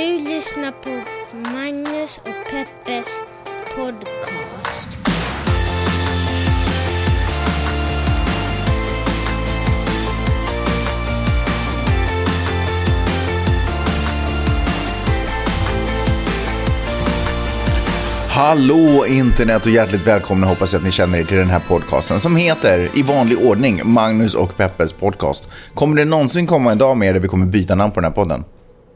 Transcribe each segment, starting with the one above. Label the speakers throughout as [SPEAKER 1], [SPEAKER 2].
[SPEAKER 1] lyssnar på Magnus och Peppes podcast.
[SPEAKER 2] Hallå internet och hjärtligt välkomna hoppas jag att ni känner er till den här podcasten som heter i vanlig ordning Magnus och Peppes podcast. Kommer det någonsin komma en dag mer där vi kommer byta namn på den här podden?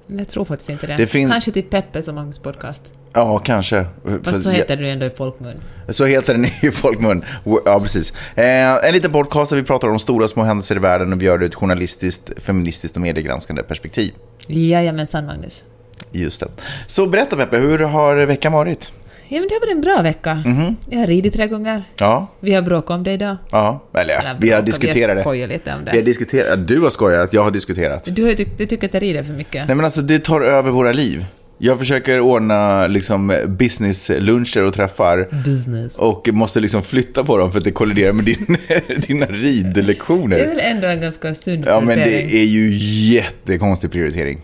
[SPEAKER 3] Jag tror faktiskt inte det.
[SPEAKER 2] Det finns-
[SPEAKER 3] Kanske till Peppes och Magnus podcast.
[SPEAKER 2] Ja, kanske. För-
[SPEAKER 3] Fast så heter det ju ändå i folkmun.
[SPEAKER 2] Så heter den i folkmun. Ja, precis. Eh, en liten podcast där vi pratar om stora och små händelser i världen och vi gör det ur ett journalistiskt, feministiskt och mediegranskande perspektiv.
[SPEAKER 3] Jajamensan, Magnus.
[SPEAKER 2] Just det. Så berätta Peppe, hur har veckan varit?
[SPEAKER 3] Ja, men det har varit en bra vecka. Jag har ridit tre gånger.
[SPEAKER 2] Ja,
[SPEAKER 3] Vi har bråkat om det idag.
[SPEAKER 2] Mhm. ja. Eller, vi
[SPEAKER 3] Eller
[SPEAKER 2] har
[SPEAKER 3] bråkat, Vi har
[SPEAKER 2] diskuterat det.
[SPEAKER 3] skojat lite om
[SPEAKER 2] Vi har
[SPEAKER 3] det.
[SPEAKER 2] diskuterat, du har skojat, jag har diskuterat.
[SPEAKER 3] Du, har ju tyckt- du tycker att jag rider för mycket.
[SPEAKER 2] Nej men alltså det tar över våra liv. Jag försöker ordna liksom businessluncher och träffar
[SPEAKER 3] Business.
[SPEAKER 2] och måste liksom flytta på dem för att det kolliderar med din, dina
[SPEAKER 3] Det är
[SPEAKER 2] ridlektioner.
[SPEAKER 3] väl ändå en ganska sund
[SPEAKER 2] Ja men
[SPEAKER 3] prioritering.
[SPEAKER 2] det är ju jättekonstig prioritering.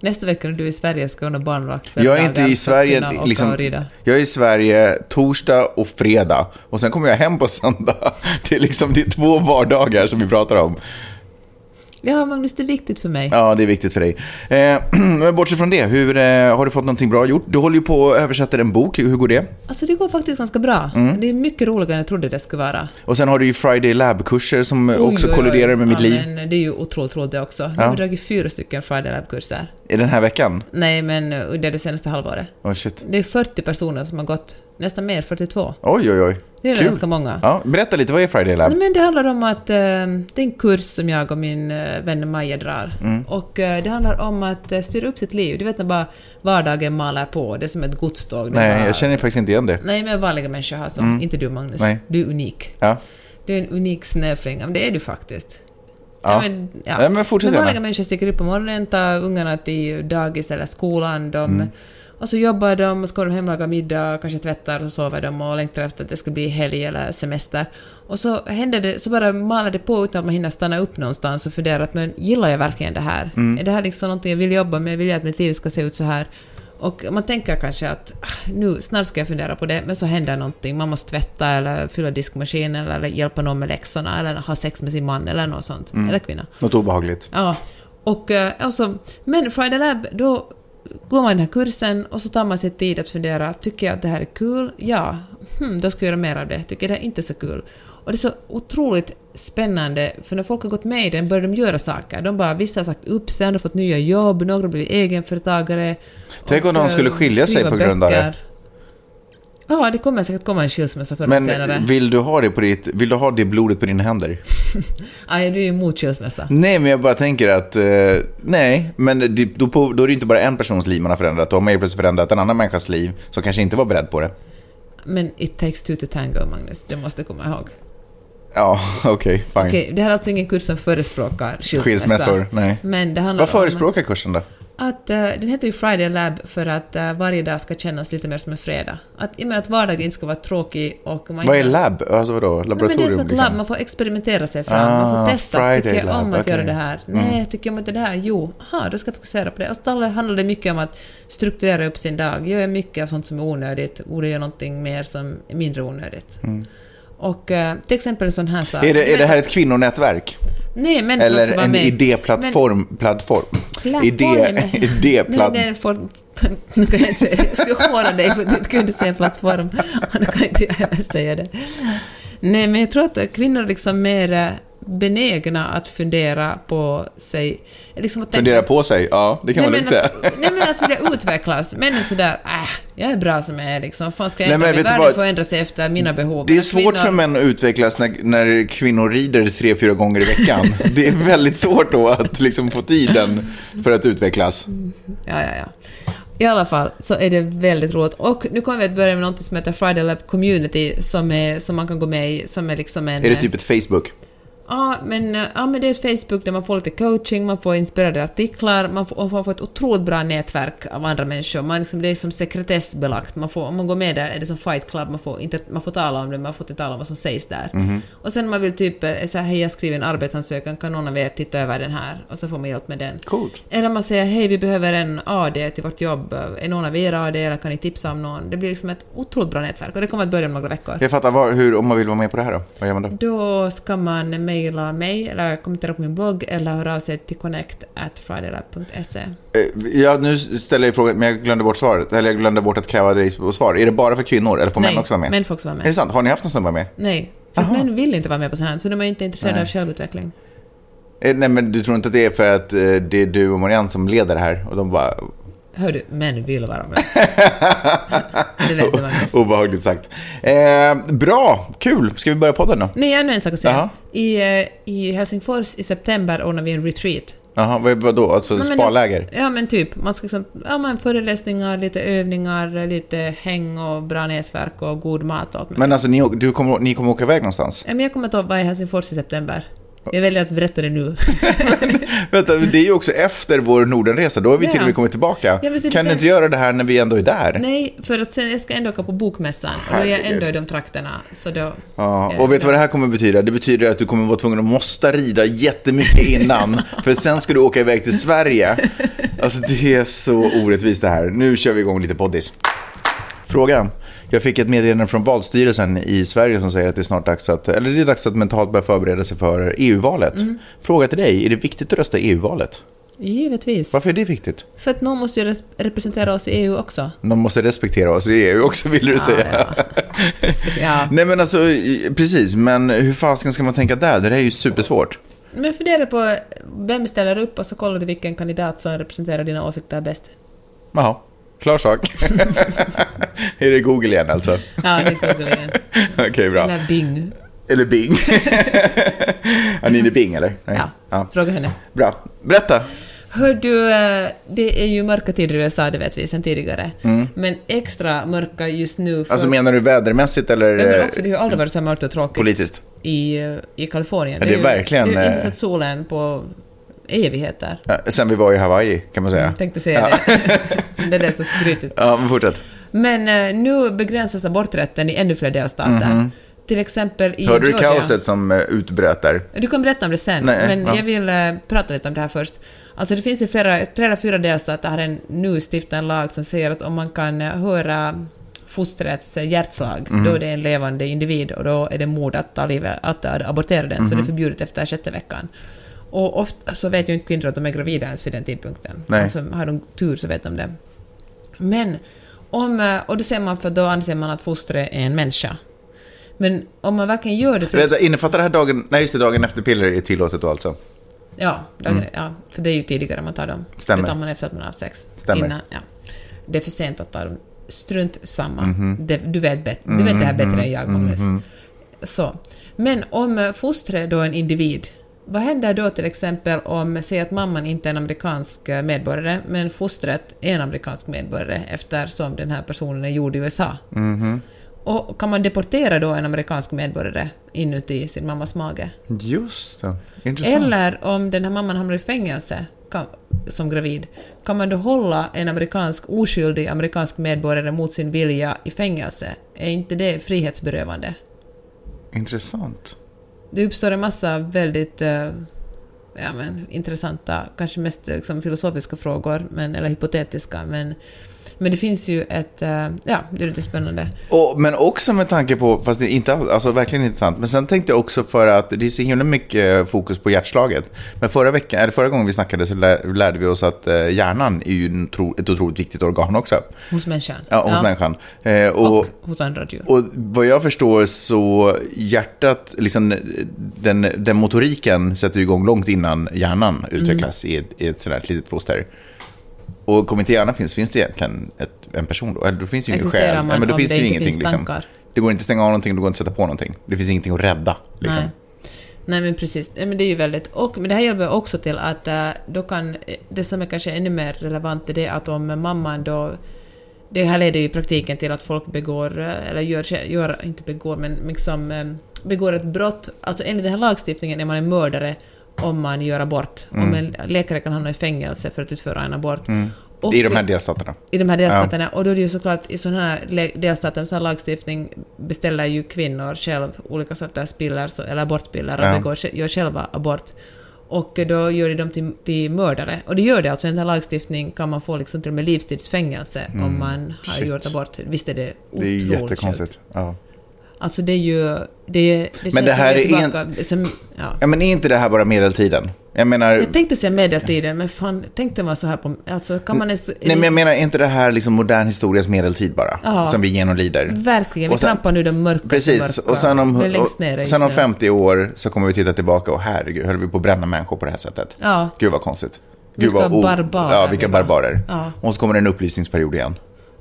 [SPEAKER 3] Nästa vecka när du är i Sverige ska hon ha barnvakt.
[SPEAKER 2] Jag
[SPEAKER 3] fem
[SPEAKER 2] är
[SPEAKER 3] dagar
[SPEAKER 2] inte
[SPEAKER 3] för
[SPEAKER 2] i
[SPEAKER 3] att kunna
[SPEAKER 2] Sverige
[SPEAKER 3] åka
[SPEAKER 2] liksom,
[SPEAKER 3] alltså och rida.
[SPEAKER 2] Jag är i Sverige torsdag och fredag och sen kommer jag hem på söndag. Det är liksom det är två vardagar som vi pratar om.
[SPEAKER 3] Ja, Magnus, det är viktigt för mig.
[SPEAKER 2] Ja, det är viktigt för dig. Eh, men bortsett från det, hur, eh, har du fått någonting bra gjort? Du håller ju på att översätta en bok, hur går det?
[SPEAKER 3] Alltså, det går faktiskt ganska bra.
[SPEAKER 2] Mm.
[SPEAKER 3] Det är mycket roligare än jag trodde det skulle vara.
[SPEAKER 2] Och sen har du ju Friday Lab-kurser som också
[SPEAKER 3] Oj, oj, oj.
[SPEAKER 2] kolliderar med mitt
[SPEAKER 3] ja,
[SPEAKER 2] liv
[SPEAKER 3] Men det är ju otroligt roligt det också. Nu
[SPEAKER 2] Ja.
[SPEAKER 3] har vi dragit fyra stycken Friday Lab-kurser.
[SPEAKER 2] i den här veckan.
[SPEAKER 3] Nej, men under det senaste halvåret.
[SPEAKER 2] Oh, shit.
[SPEAKER 3] Det är 40 personer som har gått, nästan mer, 42.
[SPEAKER 2] Oj, oj, oj.
[SPEAKER 3] Det är
[SPEAKER 2] Kul.
[SPEAKER 3] ganska många.
[SPEAKER 2] Ja, berätta lite, vad är Friday Lab?
[SPEAKER 3] Nej, men det handlar om att eh, det är en kurs som jag och min eh, vän Maja drar.
[SPEAKER 2] Mm.
[SPEAKER 3] Och eh, det handlar om att eh, styra upp sitt liv. Du vet när bara vardagen malar på, det är som ett godståg. Det är
[SPEAKER 2] Nej,
[SPEAKER 3] bara,
[SPEAKER 2] jag känner faktiskt inte igen det.
[SPEAKER 3] Nej, men vanliga människor har så. Inte du, Magnus.
[SPEAKER 2] Nej.
[SPEAKER 3] Du är unik.
[SPEAKER 2] Ja.
[SPEAKER 3] Du är en unik snöflinga, men det är du faktiskt.
[SPEAKER 2] Ja.
[SPEAKER 3] men,
[SPEAKER 2] Nej, men fortsätt
[SPEAKER 3] men vanliga
[SPEAKER 2] gärna.
[SPEAKER 3] människor sticker upp på morgonen, tar ungarna till dagis eller skolan. De,
[SPEAKER 2] Mm.
[SPEAKER 3] Och så jobbar de, och så kommer de hem, lagar middag, kanske tvättar och sover de och längtar efter att det ska bli helg eller semester. Och så händer det, så bara malar det på utan att man hinner stanna upp någonstans och fundera att men gillar jag verkligen det här?
[SPEAKER 2] Mm.
[SPEAKER 3] Är det här liksom någonting jag vill jobba med? Vill jag att mitt liv ska se ut så här? Och man tänker kanske att "Ah, nu snart ska jag fundera på det, men så händer någonting. Man måste tvätta eller fylla diskmaskinen eller hjälpa någon med läxorna eller ha sex med sin man eller något sånt.
[SPEAKER 2] Mm.
[SPEAKER 3] Eller kvinna.
[SPEAKER 2] Något obehagligt.
[SPEAKER 3] Ja, och eh, alltså, men Friday Lab, då går man den här kursen och så tar man sig tid att fundera, tycker jag att det här är kul? Ja, hmm, då ska jag göra mer av det. Tycker jag det är inte så kul? Och det är så otroligt spännande, för när folk har gått med i den börjar de göra saker. De bara, vissa har sagt upp sig, andra har fått nya jobb, några har blivit egenföretagare.
[SPEAKER 2] Tänk om
[SPEAKER 3] och,
[SPEAKER 2] någon
[SPEAKER 3] eh,
[SPEAKER 2] skulle skilja sig
[SPEAKER 3] skriva
[SPEAKER 2] på grund av det.
[SPEAKER 3] böcker. Ja, det kommer säkert komma en skilsmässa förr eller senare.
[SPEAKER 2] Men vill du, ha det på ditt, vill du ha det blodet på dina händer?
[SPEAKER 3] Aj, du är ju emot skilsmässa.
[SPEAKER 2] Nej, men jag bara tänker att... Eh, nej, men det, då, på, då är det inte bara en persons liv man har förändrat. Då har man helt plötsligt förändrat en annan människas liv som kanske inte var beredd på det.
[SPEAKER 3] Men it takes two to tango, Magnus. Det måste du komma ihåg.
[SPEAKER 2] Ja, okej, fine.
[SPEAKER 3] Okej, det här är alltså ingen kurs som förespråkar skilsmässa.
[SPEAKER 2] Skilsmässor, nej.
[SPEAKER 3] Men det handlar
[SPEAKER 2] Vad förespråkar kursen då?
[SPEAKER 3] om att eh, den heter ju Friday Lab för att eh, varje dag ska kännas lite mer som en fredag. Att, I och med att vardagen inte ska vara tråkig och man
[SPEAKER 2] Vad är
[SPEAKER 3] inte-
[SPEAKER 2] labb? Alltså vadå?
[SPEAKER 3] Nej, men det är
[SPEAKER 2] Laboratorium?
[SPEAKER 3] som ett
[SPEAKER 2] liksom?
[SPEAKER 3] labb, man får experimentera sig fram, man
[SPEAKER 2] Ah,
[SPEAKER 3] får testa.
[SPEAKER 2] Friday
[SPEAKER 3] tycker jag om
[SPEAKER 2] Lab,
[SPEAKER 3] att göra
[SPEAKER 2] okej. Mm.
[SPEAKER 3] det här? Nej, tycker jag om inte det här? Jo, aha, då ska jag fokusera på det. Och så handlar det mycket om att strukturera upp sin dag. Gör jag mycket av sånt som är onödigt? Borde jag göra någonting mer som är mindre onödigt? Och eh, till exempel en sån här sak.
[SPEAKER 2] Mm. Är
[SPEAKER 3] Du
[SPEAKER 2] det, är
[SPEAKER 3] vet
[SPEAKER 2] det här ett kvinnonätverk?
[SPEAKER 3] att- Nej, men som också
[SPEAKER 2] Eller
[SPEAKER 3] var
[SPEAKER 2] en
[SPEAKER 3] med.
[SPEAKER 2] idéplattform? Plattform?
[SPEAKER 3] Plattform,
[SPEAKER 2] Idé,
[SPEAKER 3] nej.
[SPEAKER 2] idéplatt...
[SPEAKER 3] Nej, det är en form... Nu kan jag inte säga det. Jag skulle håna dig för att du inte kunde säga plattform. Nu kan inte jag heller säga det. Nej, men jag tror att kvinnor är liksom mer eh, benägna att fundera på sig... Liksom att tänka-
[SPEAKER 2] Fundera på sig? Ja, det kan man
[SPEAKER 3] nej,
[SPEAKER 2] lugnt
[SPEAKER 3] men
[SPEAKER 2] säga.
[SPEAKER 3] att, nej, men att vilja utvecklas. Män är sådär, äh, jag är bra som jag är liksom. Fan ska jag
[SPEAKER 2] Nej,
[SPEAKER 3] ändra
[SPEAKER 2] men
[SPEAKER 3] mig?
[SPEAKER 2] vet du
[SPEAKER 3] Världen
[SPEAKER 2] vad?
[SPEAKER 3] får ändra sig efter mina behov.
[SPEAKER 2] Det är
[SPEAKER 3] Men att
[SPEAKER 2] svårt
[SPEAKER 3] kvinnor-
[SPEAKER 2] för män att utvecklas när, när kvinnor rider tre, fyra gånger i veckan. Det är väldigt svårt då att liksom få tiden för att utvecklas.
[SPEAKER 3] Ja, ja, ja. I alla fall så är det väldigt roligt. Och nu kommer vi att börja med något som heter Friday Lab Community som, är, som man kan gå med i, som är liksom en...
[SPEAKER 2] typ- Är det typ ett Facebook?
[SPEAKER 3] Ja, men, eh, ja, men det är ett Facebook där man får lite coaching, man får inspirerade artiklar, man får, och man får ett otroligt bra nätverk av andra människor. Man liksom, det är som sekretessbelagt. Man får, om man går med där är det som Fight Club, man får, inte, man får tala om det, man får inte tala om vad som sägs där. Och sen man vill typ, eh, är så här, hej jag skriver en arbetsansökan, kan någon av er titta över den här? Och så får man hjälp med den.
[SPEAKER 2] Coolt.
[SPEAKER 3] Eller man säger, hej vi behöver en AD till vårt jobb, är någon av er AD eller kan ni tipsa om någon? Det blir liksom ett otroligt bra nätverk och det kommer att börja om några veckor.
[SPEAKER 2] Jag fattar, var, hur, om man vill vara med på det här då? Vad gör man då?
[SPEAKER 3] Då ska man mejla mig eller kommentera på min blogg eller höra av sig till connect at fridaylab.se.
[SPEAKER 2] Eh, Ja, nu ställer jag frågan, men jag glömde bort svaret. Eller jag glömde bort att kräva dig på svar. Är det bara för kvinnor eller får män också vara med?
[SPEAKER 3] män får också vara
[SPEAKER 2] Är det
[SPEAKER 3] med.
[SPEAKER 2] sant? Har ni haft någon snubbe med?
[SPEAKER 3] Nej, för
[SPEAKER 2] Aha.
[SPEAKER 3] män vill inte vara med på sånt här, för de är inte intresserade av självutveckling.
[SPEAKER 2] Eh, Nej, men du tror inte att det är för att eh, det är du och Marianne som leder det här? Och de bara...
[SPEAKER 3] Hör du, män vill vara med. det vet du, Magnus.
[SPEAKER 2] Obehagligt sagt. Eh, bra, kul. Ska vi börja podden då?
[SPEAKER 3] Nej, ännu en sak att
[SPEAKER 2] Jaha.
[SPEAKER 3] säga. I, eh, I Helsingfors i september ordnar vi en retreat.
[SPEAKER 2] Jaha, vad, vadå? Alltså
[SPEAKER 3] Nej, men
[SPEAKER 2] spaläger?
[SPEAKER 3] Ja, men typ. Man ska liksom, ja, men föreläsningar, lite övningar, lite häng och bra nätverk och god mat och allt möjligt.
[SPEAKER 2] Men alltså, ni, å- du kommer, ni kommer åka iväg någonstans?
[SPEAKER 3] Ja, men jag kommer att vara i Helsingfors i september. Jag väljer att berätta det nu.
[SPEAKER 2] Vänta, det är ju också efter vår Nordenresa. Då har vi
[SPEAKER 3] Ja.
[SPEAKER 2] till och med kommit tillbaka.
[SPEAKER 3] Ja, precis,
[SPEAKER 2] kan ni
[SPEAKER 3] sen-
[SPEAKER 2] inte göra det här när vi ändå är där?
[SPEAKER 3] Nej, för att sen, jag ska ändå åka på bokmässan och då är jag
[SPEAKER 2] Herregud.
[SPEAKER 3] ändå i de trakterna. Så då...
[SPEAKER 2] Ja,
[SPEAKER 3] eh,
[SPEAKER 2] och vet du vad det här kommer betyda? Det betyder att du kommer vara tvungen att måste rida jättemycket innan, för sen ska du åka iväg till Sverige. Alltså det är så orättvist det här. Nu kör vi igång lite poddis. Fråga. Jag fick ett meddelande från valstyrelsen i Sverige som säger att det är snart dags att, eller det är dags att mentalt börja förbereda sig för EU-valet.
[SPEAKER 3] Mm.
[SPEAKER 2] Fråga till dig, är det viktigt att rösta i EU-valet?
[SPEAKER 3] Givetvis.
[SPEAKER 2] Varför är det viktigt?
[SPEAKER 3] För att någon måste ju res- representera oss i EU också.
[SPEAKER 2] De måste respektera oss i EU också, vill du säga.
[SPEAKER 3] Ja, ja. ja.
[SPEAKER 2] Nej men alltså, precis, men hur fasken ska man tänka där? Det där är ju supersvårt.
[SPEAKER 3] Men fundera på vem ställer upp och så kollar du vilken kandidat som representerar dina åsikter bäst.
[SPEAKER 2] Jaha, klar sak. är det Google igen alltså?
[SPEAKER 3] Ja, det är Google igen.
[SPEAKER 2] Okej, bra.
[SPEAKER 3] Eller Bing.
[SPEAKER 2] Eller Bing. ja, ni är det Bing eller? Nej.
[SPEAKER 3] Ja, fråga henne.
[SPEAKER 2] Bra, berätta.
[SPEAKER 3] Hör du, eh, det är ju mörka tider i USA, det vet vi sedan tidigare. Men extra mörka just nu för...
[SPEAKER 2] Mm. Alltså menar du vädermässigt eller? eh,
[SPEAKER 3] Ja, men också, det har ju aldrig varit så här mörkt och tråkigt
[SPEAKER 2] Politiskt.
[SPEAKER 3] i, eh, i Kalifornien.
[SPEAKER 2] Ja, det är
[SPEAKER 3] ju-
[SPEAKER 2] verkligen,
[SPEAKER 3] Vi har ju inte
[SPEAKER 2] eh,
[SPEAKER 3] sett solen på evigheter.
[SPEAKER 2] eh, Sen vi var i Hawaii kan man säga.
[SPEAKER 3] Jag tänkte säga det. det lät så skrytigt.
[SPEAKER 2] Ja, men fortsätt.
[SPEAKER 3] Men eh, nu begränsas aborträtten i ännu fler delstater.
[SPEAKER 2] Mm-hmm.
[SPEAKER 3] Till exempel i
[SPEAKER 2] Hörde du
[SPEAKER 3] Georgia. Typ.
[SPEAKER 2] kaoset som eh, utbröt där?
[SPEAKER 3] Du kan berätta om det sen,
[SPEAKER 2] Nej,
[SPEAKER 3] men
[SPEAKER 2] ja.
[SPEAKER 3] jag vill eh, prata lite om det här först. Alltså det finns ju flera, tre eller fyra delstater har en nu stiftad lag som säger att om man kan eh, höra fostrets eh, hjärtslag, då
[SPEAKER 2] Mhm.
[SPEAKER 3] är det en levande individ och då är det mord att, ta livet, att eh, abortera den,
[SPEAKER 2] Mhm.
[SPEAKER 3] så det är förbjudet efter sjätte veckan. Och ofta så vet ju inte kvinnor att de är gravida ens vid den tidpunkten.
[SPEAKER 2] Nej.
[SPEAKER 3] Alltså har de tur så vet de det. Men om, eh, och det ser man för då anser man att fostret är en människa. Men om man verkligen gör det så...
[SPEAKER 2] Vänta, innefattar det här dagen, nej just det, dagen efter piller är tillåtet då alltså?
[SPEAKER 3] Ja, dagen, ja, för det är ju tidigare man tar dem.
[SPEAKER 2] Mm. Stämmer.
[SPEAKER 3] Det tar man efter att man har haft sex.
[SPEAKER 2] Stämmer.
[SPEAKER 3] Innan, ja. Det är för sent att ta dem. Strunt samma.
[SPEAKER 2] Mhm.
[SPEAKER 3] Det, du, vet bet, du vet det här bättre än jag, Magnus. Så. Men om eh, fostret då är en individ, vad händer då till exempel om, säg att mamman inte är en amerikansk eh, medborgare, men fostret är en amerikansk medborgare eftersom den här personen är gjord i USA?
[SPEAKER 2] Mhm.
[SPEAKER 3] Och kan man deportera då en amerikansk medborgare inuti sin mammas mage?
[SPEAKER 2] Just det, intressant.
[SPEAKER 3] Eller om den här mamman hamnar i fängelse kan, som gravid, kan man då hålla en amerikansk oskyldig amerikansk medborgare mot sin vilja i fängelse? Är inte det frihetsberövande?
[SPEAKER 2] Intressant.
[SPEAKER 3] Det uppstår en massa väldigt eh, ja, men, intressanta, kanske mest eh, liksom, filosofiska frågor, men, eller hypotetiska, men, men det finns ju ett... eh, ja, det är lite spännande.
[SPEAKER 2] Och, men också med tanke på, fast det är inte all- alltså verkligen intressant, men sen tänkte jag också för att det är så himla mycket eh, fokus på hjärtslaget. Men förra, veckan, eller förra gången vi snackade så lär, lärde vi oss att eh, hjärnan är ju en tro, ett otroligt viktigt organ också,
[SPEAKER 3] Hos människan.
[SPEAKER 2] ja, hos människan. Eh, och,
[SPEAKER 3] Och
[SPEAKER 2] och.
[SPEAKER 3] hos andra djur.
[SPEAKER 2] vad jag förstår så hjärtat, liksom, den, den motoriken sätter ju igång långt innan hjärnan
[SPEAKER 3] Mm.
[SPEAKER 2] utvecklas i, ett, i ett sådant här litet foster. Och om inte hjärnan finns, finns det egentligen ett, en person då? Eller då finns ju ingen
[SPEAKER 3] Existerar
[SPEAKER 2] själ.
[SPEAKER 3] man
[SPEAKER 2] Nej, men då
[SPEAKER 3] om
[SPEAKER 2] finns
[SPEAKER 3] det
[SPEAKER 2] ju
[SPEAKER 3] inte
[SPEAKER 2] ingenting,
[SPEAKER 3] finns
[SPEAKER 2] liksom.
[SPEAKER 3] tankar?
[SPEAKER 2] Det går inte att stänga av någonting, det går inte att sätta på någonting. Det finns ingenting att rädda. Liksom.
[SPEAKER 3] Nej. Nej men precis, Nej, men det är ju väldigt... Och men det här hjälper också till att eh, då kan... Det som är kanske ännu mer relevant är det att om mamman då... Det här leder ju i praktiken till att folk begår, eh, eller gör, gör inte begår, men liksom eh, begår ett brott, alltså enligt den här lagstiftningen är man en mördare om man gör abort. Om en läkare kan hamna i fängelse för att utföra en abort. Och-
[SPEAKER 2] Mm. I de här delstaterna.
[SPEAKER 3] i de här delstaterna. Och då är det ju såklart i sådana här le- delstater med sån här lagstiftning beställer ju kvinnor själv olika sorters piller, så- eller abortpiller, och
[SPEAKER 2] Ja.
[SPEAKER 3] begår, sj- gör själva abort. Och då gör de dem till, till mördare. Och det gör det alltså, enligt den här lagstiftningen kan man få liksom till och med livstidsfängelse om man har
[SPEAKER 2] Mm. Shit.
[SPEAKER 3] gjort abort. Visst är det
[SPEAKER 2] Det är ju
[SPEAKER 3] otroligt sjukt?
[SPEAKER 2] jättekonstigt. Ja.
[SPEAKER 3] Alltså det är ju... Det, är- det känns
[SPEAKER 2] det här
[SPEAKER 3] som vi
[SPEAKER 2] är en-
[SPEAKER 3] tillbaka, som, ja.
[SPEAKER 2] ja, men är inte det här bara medeltiden? Jag menar...
[SPEAKER 3] Jag tänkte säga medeltiden, men fan, tänk den vara så här på... Alltså kan man ens...
[SPEAKER 2] Nej, men jag menar, är inte det här liksom modern historias medeltid bara?
[SPEAKER 3] Ja. Mm.
[SPEAKER 2] Som vi genomlider?
[SPEAKER 3] Verkligen, vi
[SPEAKER 2] Och sen-
[SPEAKER 3] trampar nu den mörka
[SPEAKER 2] Precis,
[SPEAKER 3] mörka.
[SPEAKER 2] och sen om,
[SPEAKER 3] den längst ner
[SPEAKER 2] och,
[SPEAKER 3] just
[SPEAKER 2] sen om
[SPEAKER 3] nu.
[SPEAKER 2] 50 år så kommer vi titta tillbaka och herregud, höll vi på att bränna människor på det här sättet?
[SPEAKER 3] Ja.
[SPEAKER 2] Gud vad konstigt. Gud
[SPEAKER 3] Vilka
[SPEAKER 2] vad o-
[SPEAKER 3] barbarer
[SPEAKER 2] Ja,
[SPEAKER 3] vi
[SPEAKER 2] vilka
[SPEAKER 3] var.
[SPEAKER 2] barbarer.
[SPEAKER 3] Ja.
[SPEAKER 2] Och så kommer det en upplysningsperiod igen.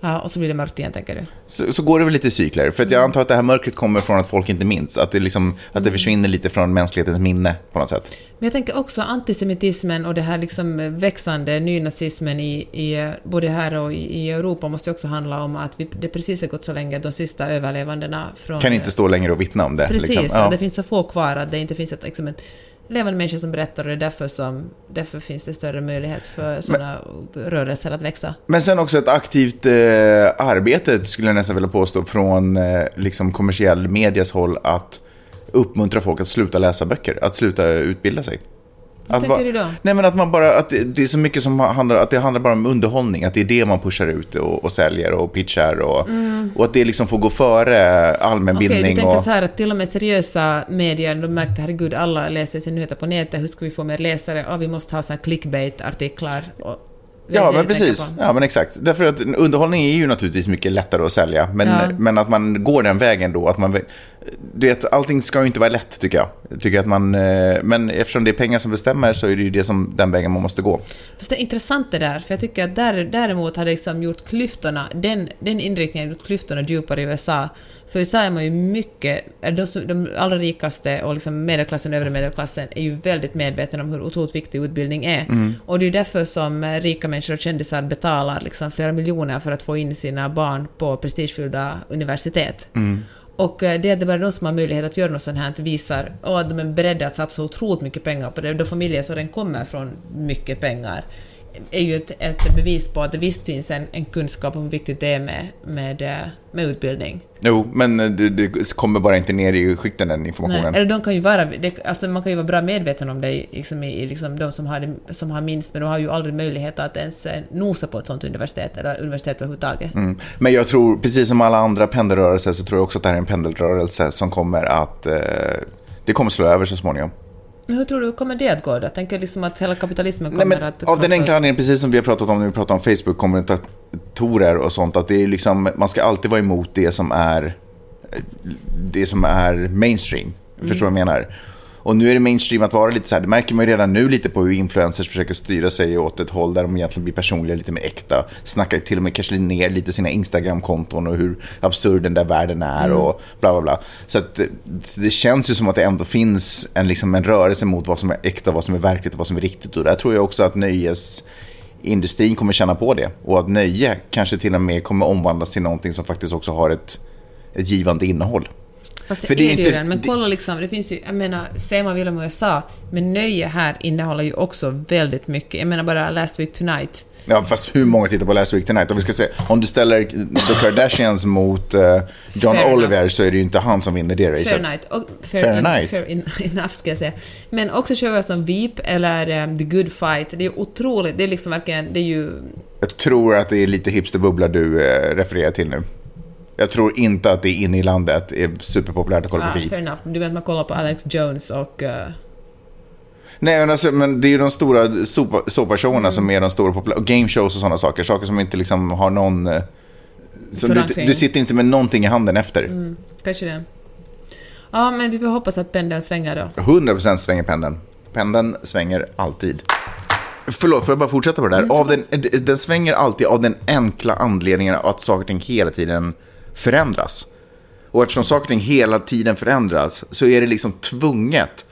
[SPEAKER 3] Ja, och så blir det mörkt igen, tänker du.
[SPEAKER 2] Så, så går det väl lite i cykler. För att jag antar att det här mörkret kommer från att folk inte minns. Att det, liksom,
[SPEAKER 3] Mm.
[SPEAKER 2] att det försvinner lite från mänsklighetens minne på något sätt.
[SPEAKER 3] Men jag tänker också antisemitismen och det här liksom växande nynazismen i, i både här och i i Europa måste ju också handla om att vi, det precis har gått så länge att de sista överlevandena från...
[SPEAKER 2] Kan inte stå längre och vittna om det.
[SPEAKER 3] Precis,
[SPEAKER 2] liksom.
[SPEAKER 3] att det finns så få kvar att det inte finns ett, liksom ett levande människa som berättar och det är därför, som, därför finns det större möjlighet för sådana rörelser att växa.
[SPEAKER 2] Men sen också ett aktivt eh, arbete, skulle jag nästan vilja påstå, från eh, liksom kommersiell medias håll att uppmuntra folk att sluta läsa böcker, att sluta utbilda sig. Vad
[SPEAKER 3] tänker du då?
[SPEAKER 2] Nej men att man bara, att det, det är så mycket som handlar, att det handlar bara om underhållning, att det är det man pushar ut och, och säljer och pitchar och, och att det liksom får gå före allmänbildning
[SPEAKER 3] Mm. Okej, du tänker
[SPEAKER 2] och...
[SPEAKER 3] så här att till och med seriösa medier, de märkte herregud, alla läser sina nyheter på nätet, hur ska vi få mer läsare? Ja, vi måste ha så här clickbait-artiklar. Och, Det är
[SPEAKER 2] Ja,
[SPEAKER 3] det
[SPEAKER 2] men
[SPEAKER 3] du tänker
[SPEAKER 2] precis.
[SPEAKER 3] på.
[SPEAKER 2] Ja, men exakt. Därför att underhållning är ju naturligtvis mycket lättare att sälja. Men,
[SPEAKER 3] Ja.
[SPEAKER 2] men att man går den vägen då. Att man, du vet, allting ska ju inte vara lätt tycker jag. Jag Tycker att man, eh, men eftersom det är pengar som bestämmer så är det ju det som, den vägen man måste gå.
[SPEAKER 3] Fast det är intressant det där, för jag tycker att där, däremot har det liksom gjort klyftorna, den, den inriktningen har gjort klyftorna djupare i USA. För i USA är man ju mycket, är de, som- de allra rikaste och liksom medelklassen och övre medelklassen är ju väldigt medvetna om hur otroligt viktig utbildning är. Och det är ju därför som eh, rika människor och kändisar betalar liksom flera miljoner för att få in sina barn på prestigefyllda universitet. Och eh, det är bara de som har möjlighet att göra något sånt här, att visar och att de är beredda att satsa otroligt mycket pengar på det. Då familjer som den kommer från mycket pengar är ju ett, ett bevis på att det visst finns en, en kunskap om hur viktigt det är med, med, eh, med utbildning.
[SPEAKER 2] Jo, men det, det kommer bara inte ner i skikten den
[SPEAKER 3] Nej,
[SPEAKER 2] informationen.
[SPEAKER 3] eller de kan ju vara, det, alltså man kan ju vara bra medveten om det, i- liksom, i, i liksom, de som har, det, som har minst, men de har ju aldrig möjlighet att ens eh, nosa på ett sånt universitet, eller universitet överhuvudtaget.
[SPEAKER 2] Mm. Men jag tror, precis som alla andra pendelrörelser, så tror jag också att det här är en pendelrörelse som kommer att... Eh, det kommer slå över så småningom.
[SPEAKER 3] Men hur tror du, kommer det att gå då? Tänker liksom att hela kapitalismen kommer
[SPEAKER 2] Nej, men,
[SPEAKER 3] att...
[SPEAKER 2] av den
[SPEAKER 3] krossas?
[SPEAKER 2] enkla anledningen, precis som vi har pratat om när vi pratar om Facebook-kommentatorer och sånt, att det är liksom, man ska alltid vara emot det som är, det som är mainstream. Förstår du vad jag menar? Och nu är det mainstream att vara lite så här, det märker man ju redan nu lite på hur influencers försöker styra sig åt ett håll där de egentligen blir personliga, lite mer äkta. Snackar till och med kanske ner lite sina Instagram-konton och hur absurd den där världen är och bla bla bla. Så att det- det känns ju som att det ändå finns en, liksom en rörelse mot vad som är äkta, vad som är verkligt och vad som är riktigt. Och där tror jag också att nöjesindustrin kommer känna på det. Och att nöje kanske till och med kommer omvandlas till någonting som faktiskt också har ett, ett givande innehåll.
[SPEAKER 3] Fast det,
[SPEAKER 2] För det är
[SPEAKER 3] är det ju
[SPEAKER 2] inte-
[SPEAKER 3] redan. Men
[SPEAKER 2] det-
[SPEAKER 3] kolla liksom, det finns ju, jag menar, säger man vill om USA, men nöje här innehåller ju också väldigt mycket. Jag menar bara Last Week Tonight.
[SPEAKER 2] Ja, fast hur många tittar på Last Week Tonight? Om, vi ska se, om du ställer The Kardashians mot eh, John
[SPEAKER 3] Fair
[SPEAKER 2] Oliver så är det ju inte han som vinner det
[SPEAKER 3] Fair
[SPEAKER 2] racet.
[SPEAKER 3] Night. Och,
[SPEAKER 2] Fair
[SPEAKER 3] en-
[SPEAKER 2] Night.
[SPEAKER 3] Fair en- enough ska jag säga. Men också shower som Veep eller ehm, The Good Fight. Det är ju otroligt, det är liksom verkligen, det är ju...
[SPEAKER 2] Jag tror att det är lite hipsterbubbla du eh, refererar till nu. Jag tror inte att det inne i landet är superpopulärt att kolla
[SPEAKER 3] Ah,
[SPEAKER 2] på
[SPEAKER 3] fair
[SPEAKER 2] Veep.
[SPEAKER 3] enough. Du vet man kollar på Alex Jones och... eh,
[SPEAKER 2] Nej, men, alltså, men det är ju de stora sopa- såpashowerna som är de stora populära. och Game shows och sådana saker. Saker som inte liksom har någon... eh, Som du,
[SPEAKER 3] Förankring. Mm.
[SPEAKER 2] du sitter inte med någonting i handen efter.
[SPEAKER 3] kanske det. Ja, men vi får hoppas att pendeln svänger då.
[SPEAKER 2] 100% svänger pendeln. Pendeln svänger alltid. Förlåt, får jag bara fortsätta på det
[SPEAKER 3] Mm,
[SPEAKER 2] där? Av den, den svänger alltid av den enkla anledningen att saker och ting hela tiden förändras. Och eftersom saker och ting hela tiden förändras så är det liksom tvunget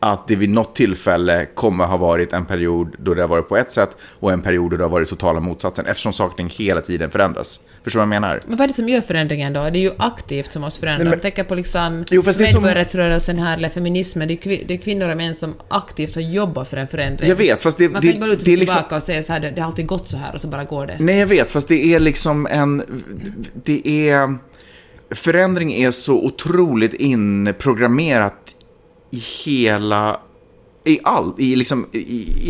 [SPEAKER 2] att det vid något tillfälle kommer ha varit en period då det har varit på ett sätt och en period då det har varit totala motsatsen eftersom saker hela tiden förändras. Förstår du vad jag menar?
[SPEAKER 3] Men vad är det som gör förändringen då? Det är ju aktivt som måste förändra.
[SPEAKER 2] Nej, men-
[SPEAKER 3] Jag tänker på liksom
[SPEAKER 2] Jo, fast det är som-
[SPEAKER 3] medborgarrättsrörelsen här, eller feminismen. Det är, kvi- det är kvinnor och män som aktivt har jobbat för en förändring.
[SPEAKER 2] Jag vet, fast det-
[SPEAKER 3] Man
[SPEAKER 2] det-
[SPEAKER 3] kan inte bara luta
[SPEAKER 2] det är
[SPEAKER 3] sig
[SPEAKER 2] liksom-
[SPEAKER 3] tillbaka och säga så här, det, det har alltid gått så här och så bara går det.
[SPEAKER 2] Nej, jag vet, fast det är liksom en... Det är... Förändring är så otroligt inprogrammerat i hela... I allt, i, liksom, i,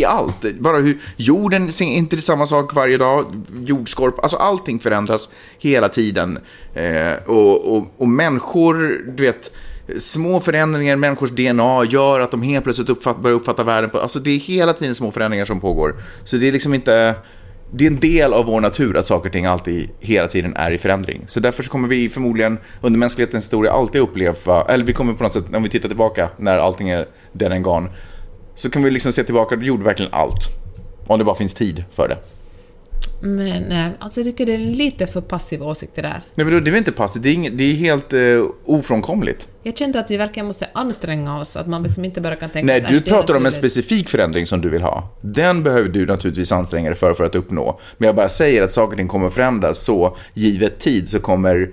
[SPEAKER 2] i allt. Bara hur jorden ser inte samma sak varje dag, jordskorp, alltså allting förändras hela tiden. Eh, och, och, och människor, du vet, små förändringar i människors DNA gör att de helt plötsligt uppfatt, börjar uppfatta världen på, alltså det är hela tiden små förändringar som pågår. Så det är liksom inte, det är en del av vår natur att saker och ting alltid hela tiden är i förändring. Så därför så kommer vi förmodligen under mänsklighetens historia alltid uppleva, eller vi kommer på något sätt, om vi tittar tillbaka när allting är dead and gone, så kan vi liksom se tillbaka, du gjorde verkligen allt. Om det bara finns tid för det.
[SPEAKER 3] Men nej, alltså jag tycker det är en lite för passiv åsikt det där.
[SPEAKER 2] Nej, men då, det är väl inte passivt, det är, inget, det är helt eh, ofrånkomligt.
[SPEAKER 3] Jag kände att vi verkligen måste anstränga oss, att man liksom inte bara kan tänka
[SPEAKER 2] Nej,
[SPEAKER 3] att
[SPEAKER 2] du
[SPEAKER 3] "Äsch, det är
[SPEAKER 2] pratar om en
[SPEAKER 3] naturligt."
[SPEAKER 2] specifik förändring som du vill ha. Den behöver du naturligtvis anstränga dig för, för att uppnå. Men jag bara säger att saker och ting kommer förändras, så givet tid så kommer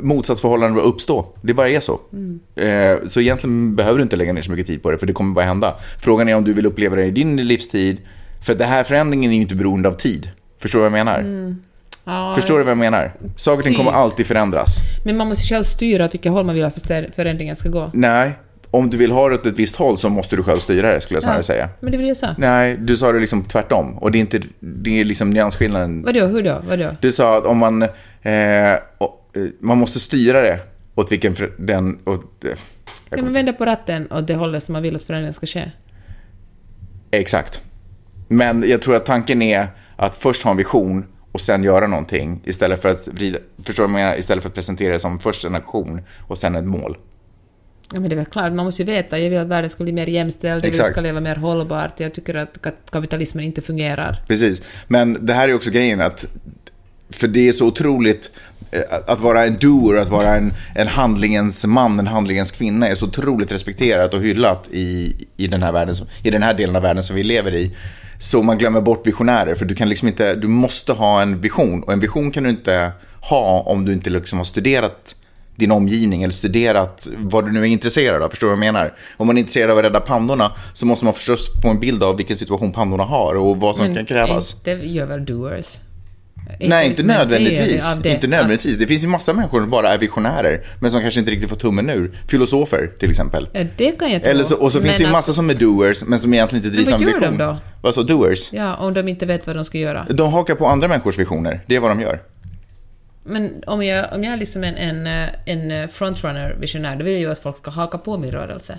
[SPEAKER 2] motsatsförhållanden att uppstå. Det bara är så.
[SPEAKER 3] Mm.
[SPEAKER 2] Eh, Så egentligen behöver du inte lägga ner så mycket tid på det, för det kommer bara hända. Frågan är om du vill uppleva det i din livstid, för den här förändringen är ju inte beroende av tid. Förstår du vad jag menar?
[SPEAKER 3] Mm. Ja,
[SPEAKER 2] Förstår du vad jag menar? Saker och ting kommer
[SPEAKER 3] Typ.
[SPEAKER 2] alltid förändras.
[SPEAKER 3] Men man måste själv styra åt vilket håll man vill att förstä- förändringen ska gå.
[SPEAKER 2] Nej, om du vill ha det åt ett visst håll så måste du själv styra det, skulle jag snarare säga.
[SPEAKER 3] Men det vill jag säga.
[SPEAKER 2] Nej, du sa det liksom tvärtom. Och det är, inte, det är liksom nyansskillnaden.
[SPEAKER 3] Vadå, hur då? Vadå?
[SPEAKER 2] Du sa att om man, eh, och, eh, man måste styra det åt vilken för, den... Åt, eh, jag
[SPEAKER 3] Kan
[SPEAKER 2] kommer-
[SPEAKER 3] man vända på ratten åt det hållet som man vill att förändringen ska ske?
[SPEAKER 2] Exakt. Men jag tror att tanken är att först ha en vision och sen göra någonting istället för att vrida, förstår du vad jag menar? Istället för att presentera det som först en aktion och sen ett mål.
[SPEAKER 3] Ja, men det är väl klart, man måste ju veta. Jag vill att världen ska bli mer jämställd, jag vill att vi
[SPEAKER 2] Exakt.
[SPEAKER 3] ska leva mer hållbart, jag tycker att ka- kapitalismen inte fungerar.
[SPEAKER 2] Precis, men det här är också grejen att, för det är så otroligt, eh, att- att vara en doer, att vara en, en handlingens man, en handlingens kvinna är så otroligt respekterat och hyllat i, i, den här världen, som- i den här delen av världen som vi lever i. Så man glömmer bort visionärer, för du kan liksom inte, du måste ha en vision och en vision kan du inte ha om du inte liksom har studerat din omgivning eller studerat vad du nu är intresserad av. Förstår du vad jag menar? Om man är intresserad av att rädda pandorna så måste man förstås få en bild av vilken situation pandorna har och vad som kan krävas.
[SPEAKER 3] Inte gör väl doers?
[SPEAKER 2] Nej, inte
[SPEAKER 3] liksom en del
[SPEAKER 2] nödvändigtvis.
[SPEAKER 3] av det.
[SPEAKER 2] inte nödvändigtvis. Det finns ju massa människor som bara är visionärer, men som kanske inte riktigt får tummen ur. Filosofer, till exempel.
[SPEAKER 3] Ja, eh, det kan jag tro.
[SPEAKER 2] Eller så, och så finns
[SPEAKER 3] Men
[SPEAKER 2] det ju
[SPEAKER 3] att-
[SPEAKER 2] massa som är doers, men som egentligen inte drivs
[SPEAKER 3] Men
[SPEAKER 2] av
[SPEAKER 3] vad
[SPEAKER 2] en
[SPEAKER 3] gör de
[SPEAKER 2] vision.
[SPEAKER 3] då?
[SPEAKER 2] Vad så, doers?
[SPEAKER 3] Ja, om de inte vet vad de ska göra.
[SPEAKER 2] De hakar på andra människors visioner. Det är vad de gör.
[SPEAKER 3] Men om jag, om jag är liksom en, en, eh, en eh, frontrunner visionär, då vill jag ju att folk ska haka på min rörelse.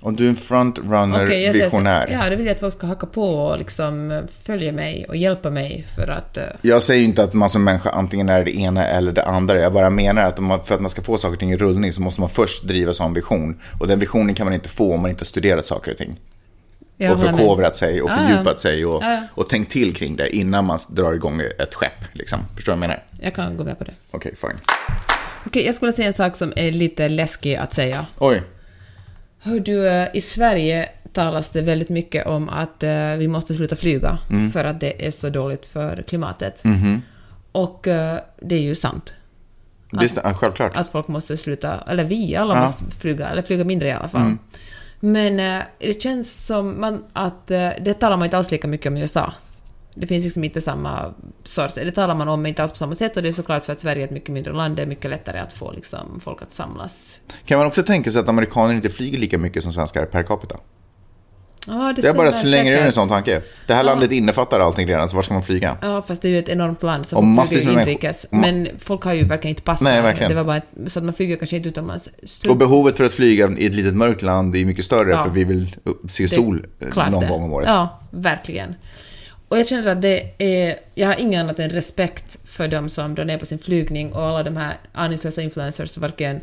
[SPEAKER 2] Om du är en
[SPEAKER 3] Okej, jag säger så-
[SPEAKER 2] frontrunner-visionär.
[SPEAKER 3] Ja, då vill jag att folk ska haka på och liksom eh, följa mig och hjälpa mig för att... eh,
[SPEAKER 2] Jag säger ju inte att man som människa antingen är det ena eller det andra. Jag bara menar att om man, för att man ska få saker och ting i rullning så måste man först drivas av en vision. Och den visionen kan man inte få om man inte har studerat saker och ting.
[SPEAKER 3] jag
[SPEAKER 2] och
[SPEAKER 3] håller med.
[SPEAKER 2] förkovrat sig och
[SPEAKER 3] Ja, ja.
[SPEAKER 2] fördjupat sig och,
[SPEAKER 3] Ja, ja.
[SPEAKER 2] och tänkt till kring det innan man drar igång ett skepp. Liksom. Förstår du vad jag menar?
[SPEAKER 3] Jag kan gå med på det.
[SPEAKER 2] Okej, fine.
[SPEAKER 3] Okej, jag skulle säga en sak som är lite läskig att säga.
[SPEAKER 2] Oj.
[SPEAKER 3] Hör du, eh, i Sverige talas det väldigt mycket om att eh, vi måste sluta flyga för att det är så dåligt för klimatet. Och eh, det är ju sant.
[SPEAKER 2] Det är, st- ja, självklart.
[SPEAKER 3] att folk måste sluta, eller vi alla måste flyga, eller flyga mindre i alla fall. Men eh, det känns som man, att eh, det talar man inte alls lika mycket om i USA. Det finns liksom inte samma sorts, det talar man om inte alls på samma sätt och det är såklart för att Sverige är ett mycket mindre land, det är mycket lättare att få liksom, folk att samlas.
[SPEAKER 2] Kan man också tänka sig att amerikaner inte flyger lika mycket som svenskar per capita?
[SPEAKER 3] Ja, det
[SPEAKER 2] Jag bara
[SPEAKER 3] stämmer
[SPEAKER 2] slänger ur en
[SPEAKER 3] säkert.
[SPEAKER 2] sån tanke. Det här landet innefattar allting redan, så var ska man flyga?
[SPEAKER 3] Ja, fast det är ju ett enormt land, så
[SPEAKER 2] Och
[SPEAKER 3] folk
[SPEAKER 2] massvis
[SPEAKER 3] flyger ju
[SPEAKER 2] med människor.
[SPEAKER 3] inrikes.
[SPEAKER 2] Och ma-
[SPEAKER 3] Men folk har ju verkligen inte pass
[SPEAKER 2] Nej,
[SPEAKER 3] här.
[SPEAKER 2] verkligen.
[SPEAKER 3] Det var bara ett, så att man flyger kanske inte utomlands. Strunt-
[SPEAKER 2] Och behovet för att flyga i ett litet mörkt land är mycket större
[SPEAKER 3] Mm. Ja.
[SPEAKER 2] för vi vill upp- se sol eh,
[SPEAKER 3] Klart
[SPEAKER 2] någon
[SPEAKER 3] det.
[SPEAKER 2] gång om året.
[SPEAKER 3] Ja, verkligen. Och jag känner att det är, jag har ingen annat än respekt för de som drar ner på sin flygning och alla de här aningslösa influencers som verkligen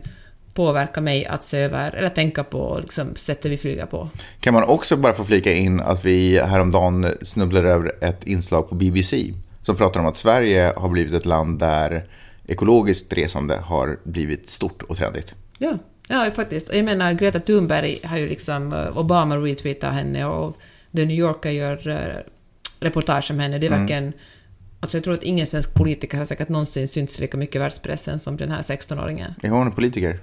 [SPEAKER 3] påverkar mig att se över eller tänka på liksom, sättet vi flyger på.
[SPEAKER 2] Kan man också bara få flika in att vi häromdagen snubblade över ett inslag på BBC som pratar om att Sverige har blivit ett land där ekologiskt resande har blivit stort och trendigt.
[SPEAKER 3] Ja, Ja, faktiskt. Och Jag menar, Greta Thunberg har ju liksom... eh, Obama retweetar henne och The New Yorker gör eh, reportage om henne. Det är
[SPEAKER 2] Mm.
[SPEAKER 3] verkligen... Alltså jag tror att ingen svensk politiker har säkert någonsin synts lika mycket i världspressen som den här 16-åringen.
[SPEAKER 2] Är hon en politiker?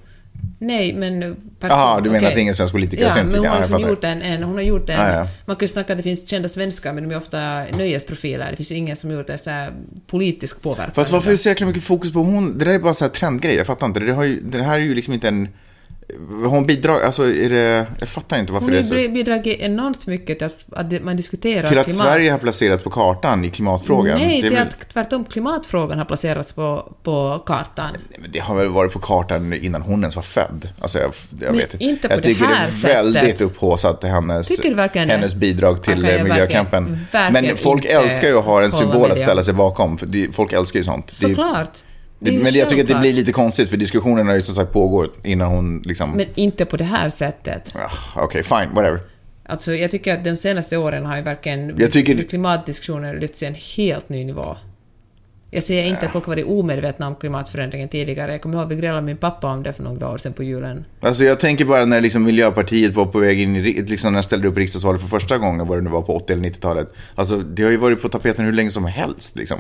[SPEAKER 3] Nej, men... eh, person-
[SPEAKER 2] Jaha, du menar
[SPEAKER 3] okej.
[SPEAKER 2] att ingen svensk politiker
[SPEAKER 3] Ja,
[SPEAKER 2] har synts lika?
[SPEAKER 3] men hon
[SPEAKER 2] Ja,
[SPEAKER 3] har
[SPEAKER 2] jag
[SPEAKER 3] liksom
[SPEAKER 2] fattar.
[SPEAKER 3] gjort en, en, hon har gjort en...
[SPEAKER 2] Ja, ja.
[SPEAKER 3] Man kan ju snacka att det finns kända svenskar, men de är ofta nöjesprofiler. Det finns ju ingen som gjort en så här politisk påverkan.
[SPEAKER 2] Fast varför är det så jäkla mycket fokus på hon? Det där är bara så här trendgrej, jag fattar inte. Det, har ju, det här är ju liksom inte en... Hon bidrar, alltså är det... Jag fattar inte varför
[SPEAKER 3] Hon
[SPEAKER 2] det
[SPEAKER 3] har
[SPEAKER 2] är så...
[SPEAKER 3] ju bidragit enormt mycket till att, att det- man diskuterar
[SPEAKER 2] Till att
[SPEAKER 3] klimat.
[SPEAKER 2] Sverige har placerats på kartan i klimatfrågan.
[SPEAKER 3] Nej,
[SPEAKER 2] det, är
[SPEAKER 3] till
[SPEAKER 2] väl,
[SPEAKER 3] att tvärtom klimatfrågan har placerats på, på kartan.
[SPEAKER 2] Nej, men det har väl varit på kartan innan hon ens var född. Alltså jag, jag
[SPEAKER 3] Men
[SPEAKER 2] vet inte.
[SPEAKER 3] inte på
[SPEAKER 2] jag
[SPEAKER 3] det
[SPEAKER 2] tycker
[SPEAKER 3] här
[SPEAKER 2] det är väldigt
[SPEAKER 3] sättet.
[SPEAKER 2] upphaussat hennes,
[SPEAKER 3] Tycker du verkligen det?
[SPEAKER 2] hennes bidrag till
[SPEAKER 3] Okej,
[SPEAKER 2] eh, miljökampen.
[SPEAKER 3] verkligen- verkligen
[SPEAKER 2] men folk
[SPEAKER 3] inte
[SPEAKER 2] älskar ju att ha en
[SPEAKER 3] hålla
[SPEAKER 2] symbol
[SPEAKER 3] med
[SPEAKER 2] att
[SPEAKER 3] det.
[SPEAKER 2] ställa sig bakom. För det, folk älskar ju sånt. Det-
[SPEAKER 3] Såklart.
[SPEAKER 2] det,
[SPEAKER 3] är ju
[SPEAKER 2] men jag tycker att det
[SPEAKER 3] självklart.
[SPEAKER 2] blir lite konstigt för diskussionen har ju som sagt pågått innan hon liksom...
[SPEAKER 3] Men inte på det här sättet.
[SPEAKER 2] Ah, Okej, fine, whatever.
[SPEAKER 3] Alltså, jag tycker att de senaste åren har ju verkligen
[SPEAKER 2] Jag tycker-
[SPEAKER 3] klimatdiskussionen lyfts till en helt ny nivå. Jag säger inte att folk har varit omedvetna om klimatförändringen tidigare. Jag kommer ihåg att vi grälade min pappa om det för några år sedan på julen.
[SPEAKER 2] Alltså jag tänker bara när liksom Miljöpartiet var på väg in i, ri- liksom när jag ställde upp riksdagsvalet för första gången, vad det nu var på 80 eller 90-talet. Alltså det har ju varit på tapeten hur länge som helst liksom.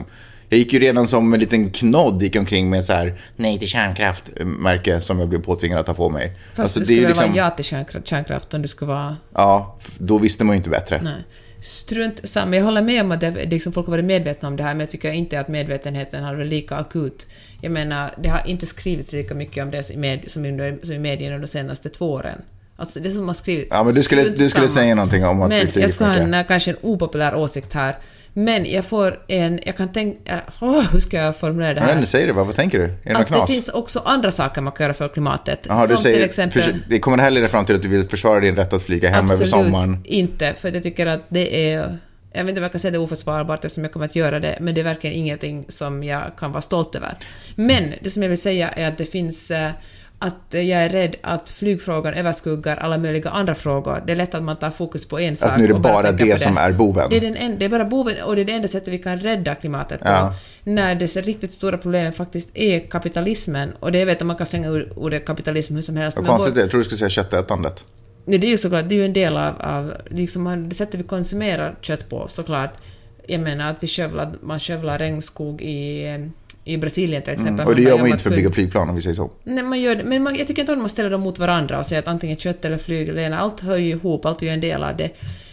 [SPEAKER 2] Jag gick ju redan som en liten knodd, gick omkring med så här nej till kärnkraft märke som jag blev påtvingad att ta på mig. Alltså,
[SPEAKER 3] Fast du skulle väl vara ja till kärnkraft, kärnkraft om du skulle vara...
[SPEAKER 2] liksom- ja, f- då visste man ju inte bättre.
[SPEAKER 3] Nej. Strunt samma. Jag håller med om att det, liksom, folk har varit medvetna om det här, men jag tycker inte att medvetenheten har varit lika akut. Jag menar, det har inte skrivits lika mycket om det i med, som, under, som i medierna under de senaste två åren. Alltså det som har skrivits...
[SPEAKER 2] Ja, men du skulle-
[SPEAKER 3] strunt
[SPEAKER 2] du skulle
[SPEAKER 3] samma.
[SPEAKER 2] säga någonting om att vi
[SPEAKER 3] men
[SPEAKER 2] flyger
[SPEAKER 3] Jag skulle ha
[SPEAKER 2] för mycket.
[SPEAKER 3] en, eh, kanske en opopulär åsikt här, men jag får en... Jag kan tänka... äh, åh, hur ska jag formulera det
[SPEAKER 2] Jag vet
[SPEAKER 3] här?
[SPEAKER 2] inte, säg det bara, vad tänker du? Är det något
[SPEAKER 3] Att det
[SPEAKER 2] knas?
[SPEAKER 3] finns också andra saker man kan göra för klimatet.
[SPEAKER 2] Jaha,
[SPEAKER 3] som
[SPEAKER 2] du säger,
[SPEAKER 3] till exempel...
[SPEAKER 2] förs- det kommer det här leda fram till att du vill försvara din rätt att flyga hem
[SPEAKER 3] Absolut
[SPEAKER 2] över sommaren?
[SPEAKER 3] inte, för jag tycker att det är... Jag vet inte om jag kan säga det är oförsvarbart eftersom jag kommer att göra det, men det är verkligen ingenting som jag kan vara stolt över. Men det som jag vill säga är att det finns... eh, Att jag är rädd att flygfrågan överskuggar alla möjliga andra frågor. Det är lätt att man tar fokus på en sak
[SPEAKER 2] Alltså, nu är det
[SPEAKER 3] och
[SPEAKER 2] bara
[SPEAKER 3] tänker
[SPEAKER 2] det
[SPEAKER 3] på
[SPEAKER 2] som är boven.
[SPEAKER 3] Det är, den en, det är bara boven och det är det enda sättet vi kan rädda klimatet på.
[SPEAKER 2] Ja.
[SPEAKER 3] När det så riktigt stora problemet faktiskt är kapitalismen. Och det vet jag, man kan slänga ur ordet kapitalism hur som helst.
[SPEAKER 2] Vad
[SPEAKER 3] men vår-
[SPEAKER 2] konstigt det är, jag tror du skulle säga köttätandet.
[SPEAKER 3] Nej, det är ju såklart, det är ju en del av, av liksom man, det sättet vi konsumerar kött på såklart. Jag menar att vi skövlar, man skövlar regnskog i, i Brasilien till exempel.
[SPEAKER 2] Mm. Och det
[SPEAKER 3] bara
[SPEAKER 2] gör man ju inte för
[SPEAKER 3] kul.
[SPEAKER 2] att bygga flygplan om vi säger så.
[SPEAKER 3] Nej, man gör det, men man, jag tycker inte om man ställer dem mot varandra och säger att antingen kött eller flyg eller ena, allt hör ju ihop, allt är ju en del av det.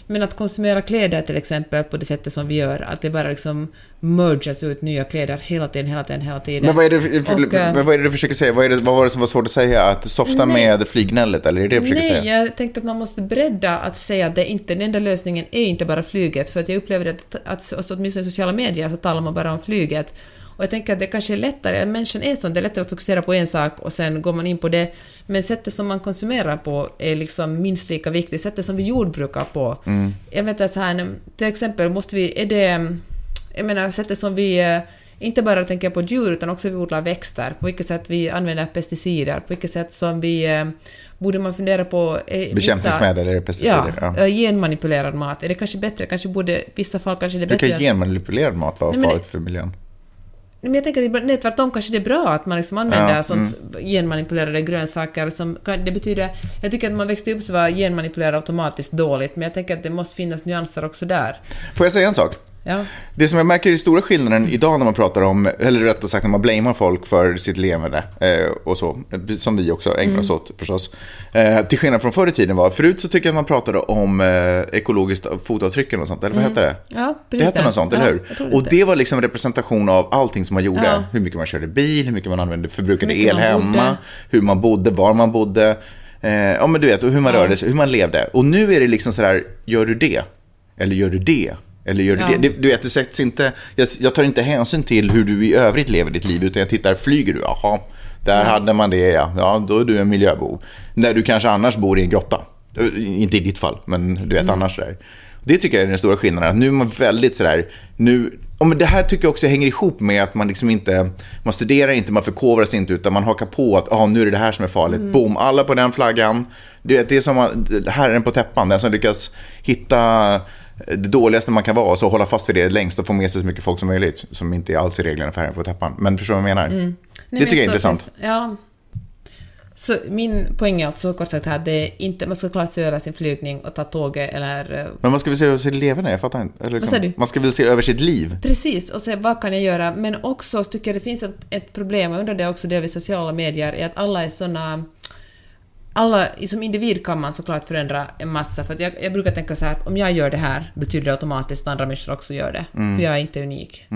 [SPEAKER 3] Men att konsumera kläder till exempel på det sättet som vi gör, att det bara liksom mergas ut nya kläder hela tiden, hela tiden, hela tiden.
[SPEAKER 2] Men vad är det, för- för,
[SPEAKER 3] Och, eh,
[SPEAKER 2] men vad är det du försöker säga? Vad, är det, vad var det som var svårt att säga? Att softa med flygnället, eller är det det du försöker
[SPEAKER 3] Nej,
[SPEAKER 2] säga?
[SPEAKER 3] jag tänkte att man måste bredda att säga att det är inte, den enda lösningen är inte bara flyget, för att jag upplever att, att, att åtminstone i sociala medier så talar man bara om flyget. Och jag tänker att det kanske är lättare, människan är sån, det är lättare att fokusera på en sak och sen går man in på det. Men sättet som man konsumerar på är liksom minst lika viktigt, sättet som vi jordbrukar på.
[SPEAKER 2] Mm.
[SPEAKER 3] Jag vet inte, så här, till exempel måste vi, är det, jag menar sättet som vi eh, inte bara tänker på djur utan också hur vi odlar växter, på vilket sätt vi använder pesticider, på vilket sätt som vi eh, borde man fundera på... eh, vissa-
[SPEAKER 2] Bekämpningsmedel eller pesticider?
[SPEAKER 3] Ja,
[SPEAKER 2] Ja.
[SPEAKER 3] eh, genmanipulerad mat. Är det kanske bättre? Kanske borde, i vissa fall kanske det är
[SPEAKER 2] Hur
[SPEAKER 3] bättre...
[SPEAKER 2] kan genmanipulerad mat vara
[SPEAKER 3] Nej, men det-
[SPEAKER 2] farligt för miljön?
[SPEAKER 3] Nej, Men jag tänker att ibland- nej, tvärtom kanske det är bra att man liksom använder
[SPEAKER 2] Ja, mm.
[SPEAKER 3] sånt genmanipulerade grönsaker som kan, det betyder... Jag tycker att man växte upp så var genmanipulerad automatiskt dåligt, men jag tänker att det måste finnas nyanser också där.
[SPEAKER 2] Får jag säga en sak?
[SPEAKER 3] Ja.
[SPEAKER 2] Det som jag märker är den stora skillnaden idag när man pratar om, eller rättare sagt när man blamar folk för sitt levande eh, och så, som vi också ägnar
[SPEAKER 3] Mm.
[SPEAKER 2] oss åt förstås. Eh, till skillnad från förr i tiden var, förut så tycker jag att man pratade om eh, ekologiskt fotavtryck och sånt, eller vad hette det?
[SPEAKER 3] Mm. Ja, precis
[SPEAKER 2] det hette
[SPEAKER 3] det.
[SPEAKER 2] något sånt, eller
[SPEAKER 3] Ja, jag tror
[SPEAKER 2] hur?
[SPEAKER 3] det
[SPEAKER 2] Och
[SPEAKER 3] hette.
[SPEAKER 2] det var liksom representation av allting som man gjorde.
[SPEAKER 3] Ja.
[SPEAKER 2] Hur mycket man körde bil, hur mycket man använde, förbrukade
[SPEAKER 3] Hur mycket
[SPEAKER 2] el
[SPEAKER 3] man
[SPEAKER 2] hemma,
[SPEAKER 3] bodde.
[SPEAKER 2] hur man bodde, var man bodde. Eh, ja, men du vet, och hur man rörde sig, hur man levde. Och nu är det liksom sådär, gör du det? Eller gör du det? Eller gör du
[SPEAKER 3] Ja.
[SPEAKER 2] det? det? Du vet, det sätts inte, jag, jag tar inte hänsyn till hur du i övrigt lever ditt liv, utan jag tittar, flyger du? Jaha, där hade man det ja. Ja, då är du en miljöbov. När du kanske annars bor i en grotta. Eh, Inte i ditt fall, men du vet annars där. Det tycker jag är den stora skillnaden, att nu är man väldigt sådär, nu, ja, men det här tycker jag också hänger ihop med att man liksom inte, man studerar inte, man förkovrar sig inte, utan man hakar på att ah, nu är det det här som är farligt. Boom, alla på den flaggan. Du vet, det är som att- herren på täppan, den som lyckas hitta det dåligaste man kan vara och så hålla fast vid det längst och få med sig så mycket folk som möjligt. Som inte är alls i reglerna för herren på täppan. Men förstår du vad jag menar?
[SPEAKER 3] Mm. Nej,
[SPEAKER 2] det
[SPEAKER 3] men
[SPEAKER 2] tycker jag är
[SPEAKER 3] förstår
[SPEAKER 2] intressant.
[SPEAKER 3] precis. Ja. Så min poäng är alltså kort sagt här, det är inte, man ska klara sig över sin flygning och ta tåget eller... eh,
[SPEAKER 2] Men man ska väl se över sitt leverne, jag fattar inte. Eller,
[SPEAKER 3] Vad säger du?
[SPEAKER 2] Man ska väl se över sitt liv.
[SPEAKER 3] Precis, och se vad kan jag göra? Men också så tycker jag det finns ett, ett problem, och jag undrar det också delvis sociala medier, är att alla är såna... Alla, som individ kan man såklart förändra en massa, för att jag, jag brukar tänka så här att om jag gör det här betyder det automatiskt att andra människor också gör det, för jag är inte unik.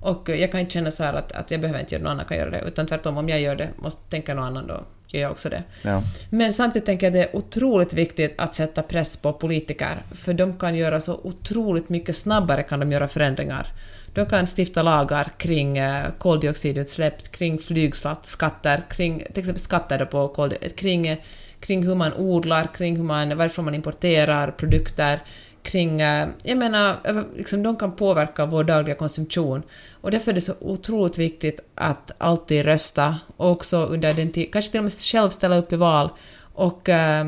[SPEAKER 3] Och eh, jag kan inte känna så här att, att jag behöver inte göra, någon annan kan göra det, utan tvärtom, om jag gör det, måste tänka någon annan då gör jag också det.
[SPEAKER 2] Ja.
[SPEAKER 3] Men samtidigt tänker jag det är otroligt viktigt att sätta press på politiker, för de kan göra så otroligt mycket snabbare kan de göra förändringar. De kan stifta lagar kring eh, koldioxidutsläpp, kring flygskatter, kring till exempel skatter då på koldioxid, kring, eh, kring hur man odlar, kring hur man, varifrån man importerar produkter, kring... eh, Jag menar, över- liksom, de kan påverka vår dagliga konsumtion. Och därför är det så otroligt viktigt att alltid rösta och också under den tiden, kanske till och med själv ställa upp i val och, eh,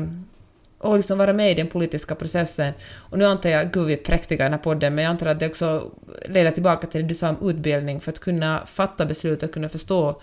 [SPEAKER 3] och liksom vara med i den politiska processen. Och nu antar jag, gud vi är präktiga i den här podden, men jag antar att det också leder tillbaka till det du sa om utbildning, för att kunna fatta beslut och kunna förstå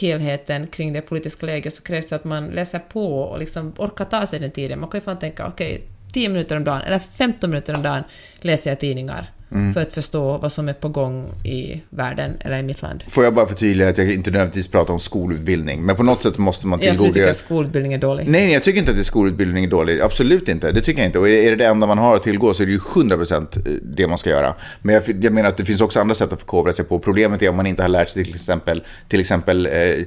[SPEAKER 3] helheten kring det politiska läget så krävs det att man läser på och liksom orkar ta sig den tiden. Man kan ju fan tänka, okej, 10 minuter om dagen eller 15 minuter om dagen läser jag tidningar för att förstå vad som är på gång i världen eller i mitt land.
[SPEAKER 2] Får jag bara förtydliga att jag inte nödvändigtvis pratar om skolutbildning, men på något sätt måste man
[SPEAKER 3] Ja, för du tycker
[SPEAKER 2] tillgodogöra
[SPEAKER 3] att skolutbildning är dålig.
[SPEAKER 2] Nej, nej, jag tycker inte att det är skolutbildning är dålig. Absolut inte. Det tycker jag inte. Och är det- är det det enda man har att tillgå så är det ju 100% det man ska göra. Men jag, jag menar att det finns också andra sätt att förkovra sig på. Problemet är om man inte har lärt sig till exempel, till exempel eh, eh,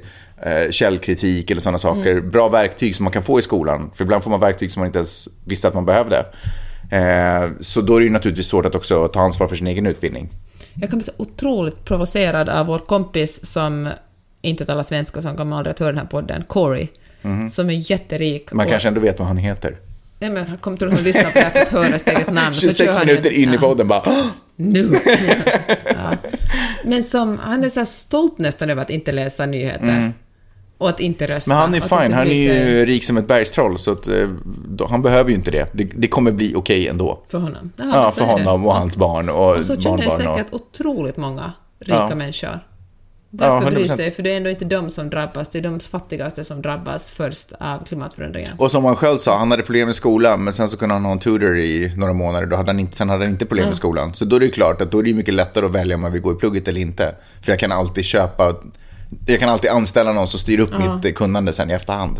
[SPEAKER 2] källkritik eller sådana
[SPEAKER 3] Mm.
[SPEAKER 2] saker. Bra verktyg som man kan få i skolan. För ibland får man verktyg som man inte ens visste att man behövde. Eh, så då är det ju naturligtvis svårt att också ta ansvar för sin egen utbildning.
[SPEAKER 3] Jag kan bli så otroligt provocerad av vår kompis som inte talar svenska, som kommer aldrig att höra den här podden, Corey, som är jätterik.
[SPEAKER 2] Mhm. Man
[SPEAKER 3] och-
[SPEAKER 2] kanske ändå vet vad han heter.
[SPEAKER 3] Nej, men han kommer tro att hon lyssnar på det här för att höra sitt eget namn. så
[SPEAKER 2] 26
[SPEAKER 3] kör han
[SPEAKER 2] minuter
[SPEAKER 3] en-
[SPEAKER 2] in i
[SPEAKER 3] Ja.
[SPEAKER 2] podden bara "Åh!"
[SPEAKER 3] nu. ja. Men som, han är så här stolt nästan över att inte läsa nyheter. Och att inte rösta.
[SPEAKER 2] Mm. Men han är
[SPEAKER 3] och att
[SPEAKER 2] fine,
[SPEAKER 3] inte
[SPEAKER 2] han är
[SPEAKER 3] bry sig
[SPEAKER 2] ju rik som ett bergstroll så att, eh, då, han behöver ju inte det. Det, det kommer bli okej ändå.
[SPEAKER 3] För honom. Ja,
[SPEAKER 2] Ja,
[SPEAKER 3] så
[SPEAKER 2] för
[SPEAKER 3] är det.
[SPEAKER 2] honom och hans barn och,
[SPEAKER 3] Och så känner
[SPEAKER 2] barnbarn. Och,
[SPEAKER 3] säkert otroligt många rika
[SPEAKER 2] Ja.
[SPEAKER 3] människor.
[SPEAKER 2] Ja,
[SPEAKER 3] Varför
[SPEAKER 2] 100%.
[SPEAKER 3] bry sig? För det är ändå inte de som drabbas, det är de fattigaste som drabbas först av klimatförändringen.
[SPEAKER 2] och som han själv sa, han hade problem i skolan men sen så kunde han ha en tutor i några månader. Då hade han inte, sen hade han inte problem i skolan. Så då är det ju klart att då är det ju mycket lättare att välja om man vill gå i plugget eller inte. För jag kan alltid köpa, jag kan alltid anställa någon som styr upp mitt eh, kunnande sen i efterhand.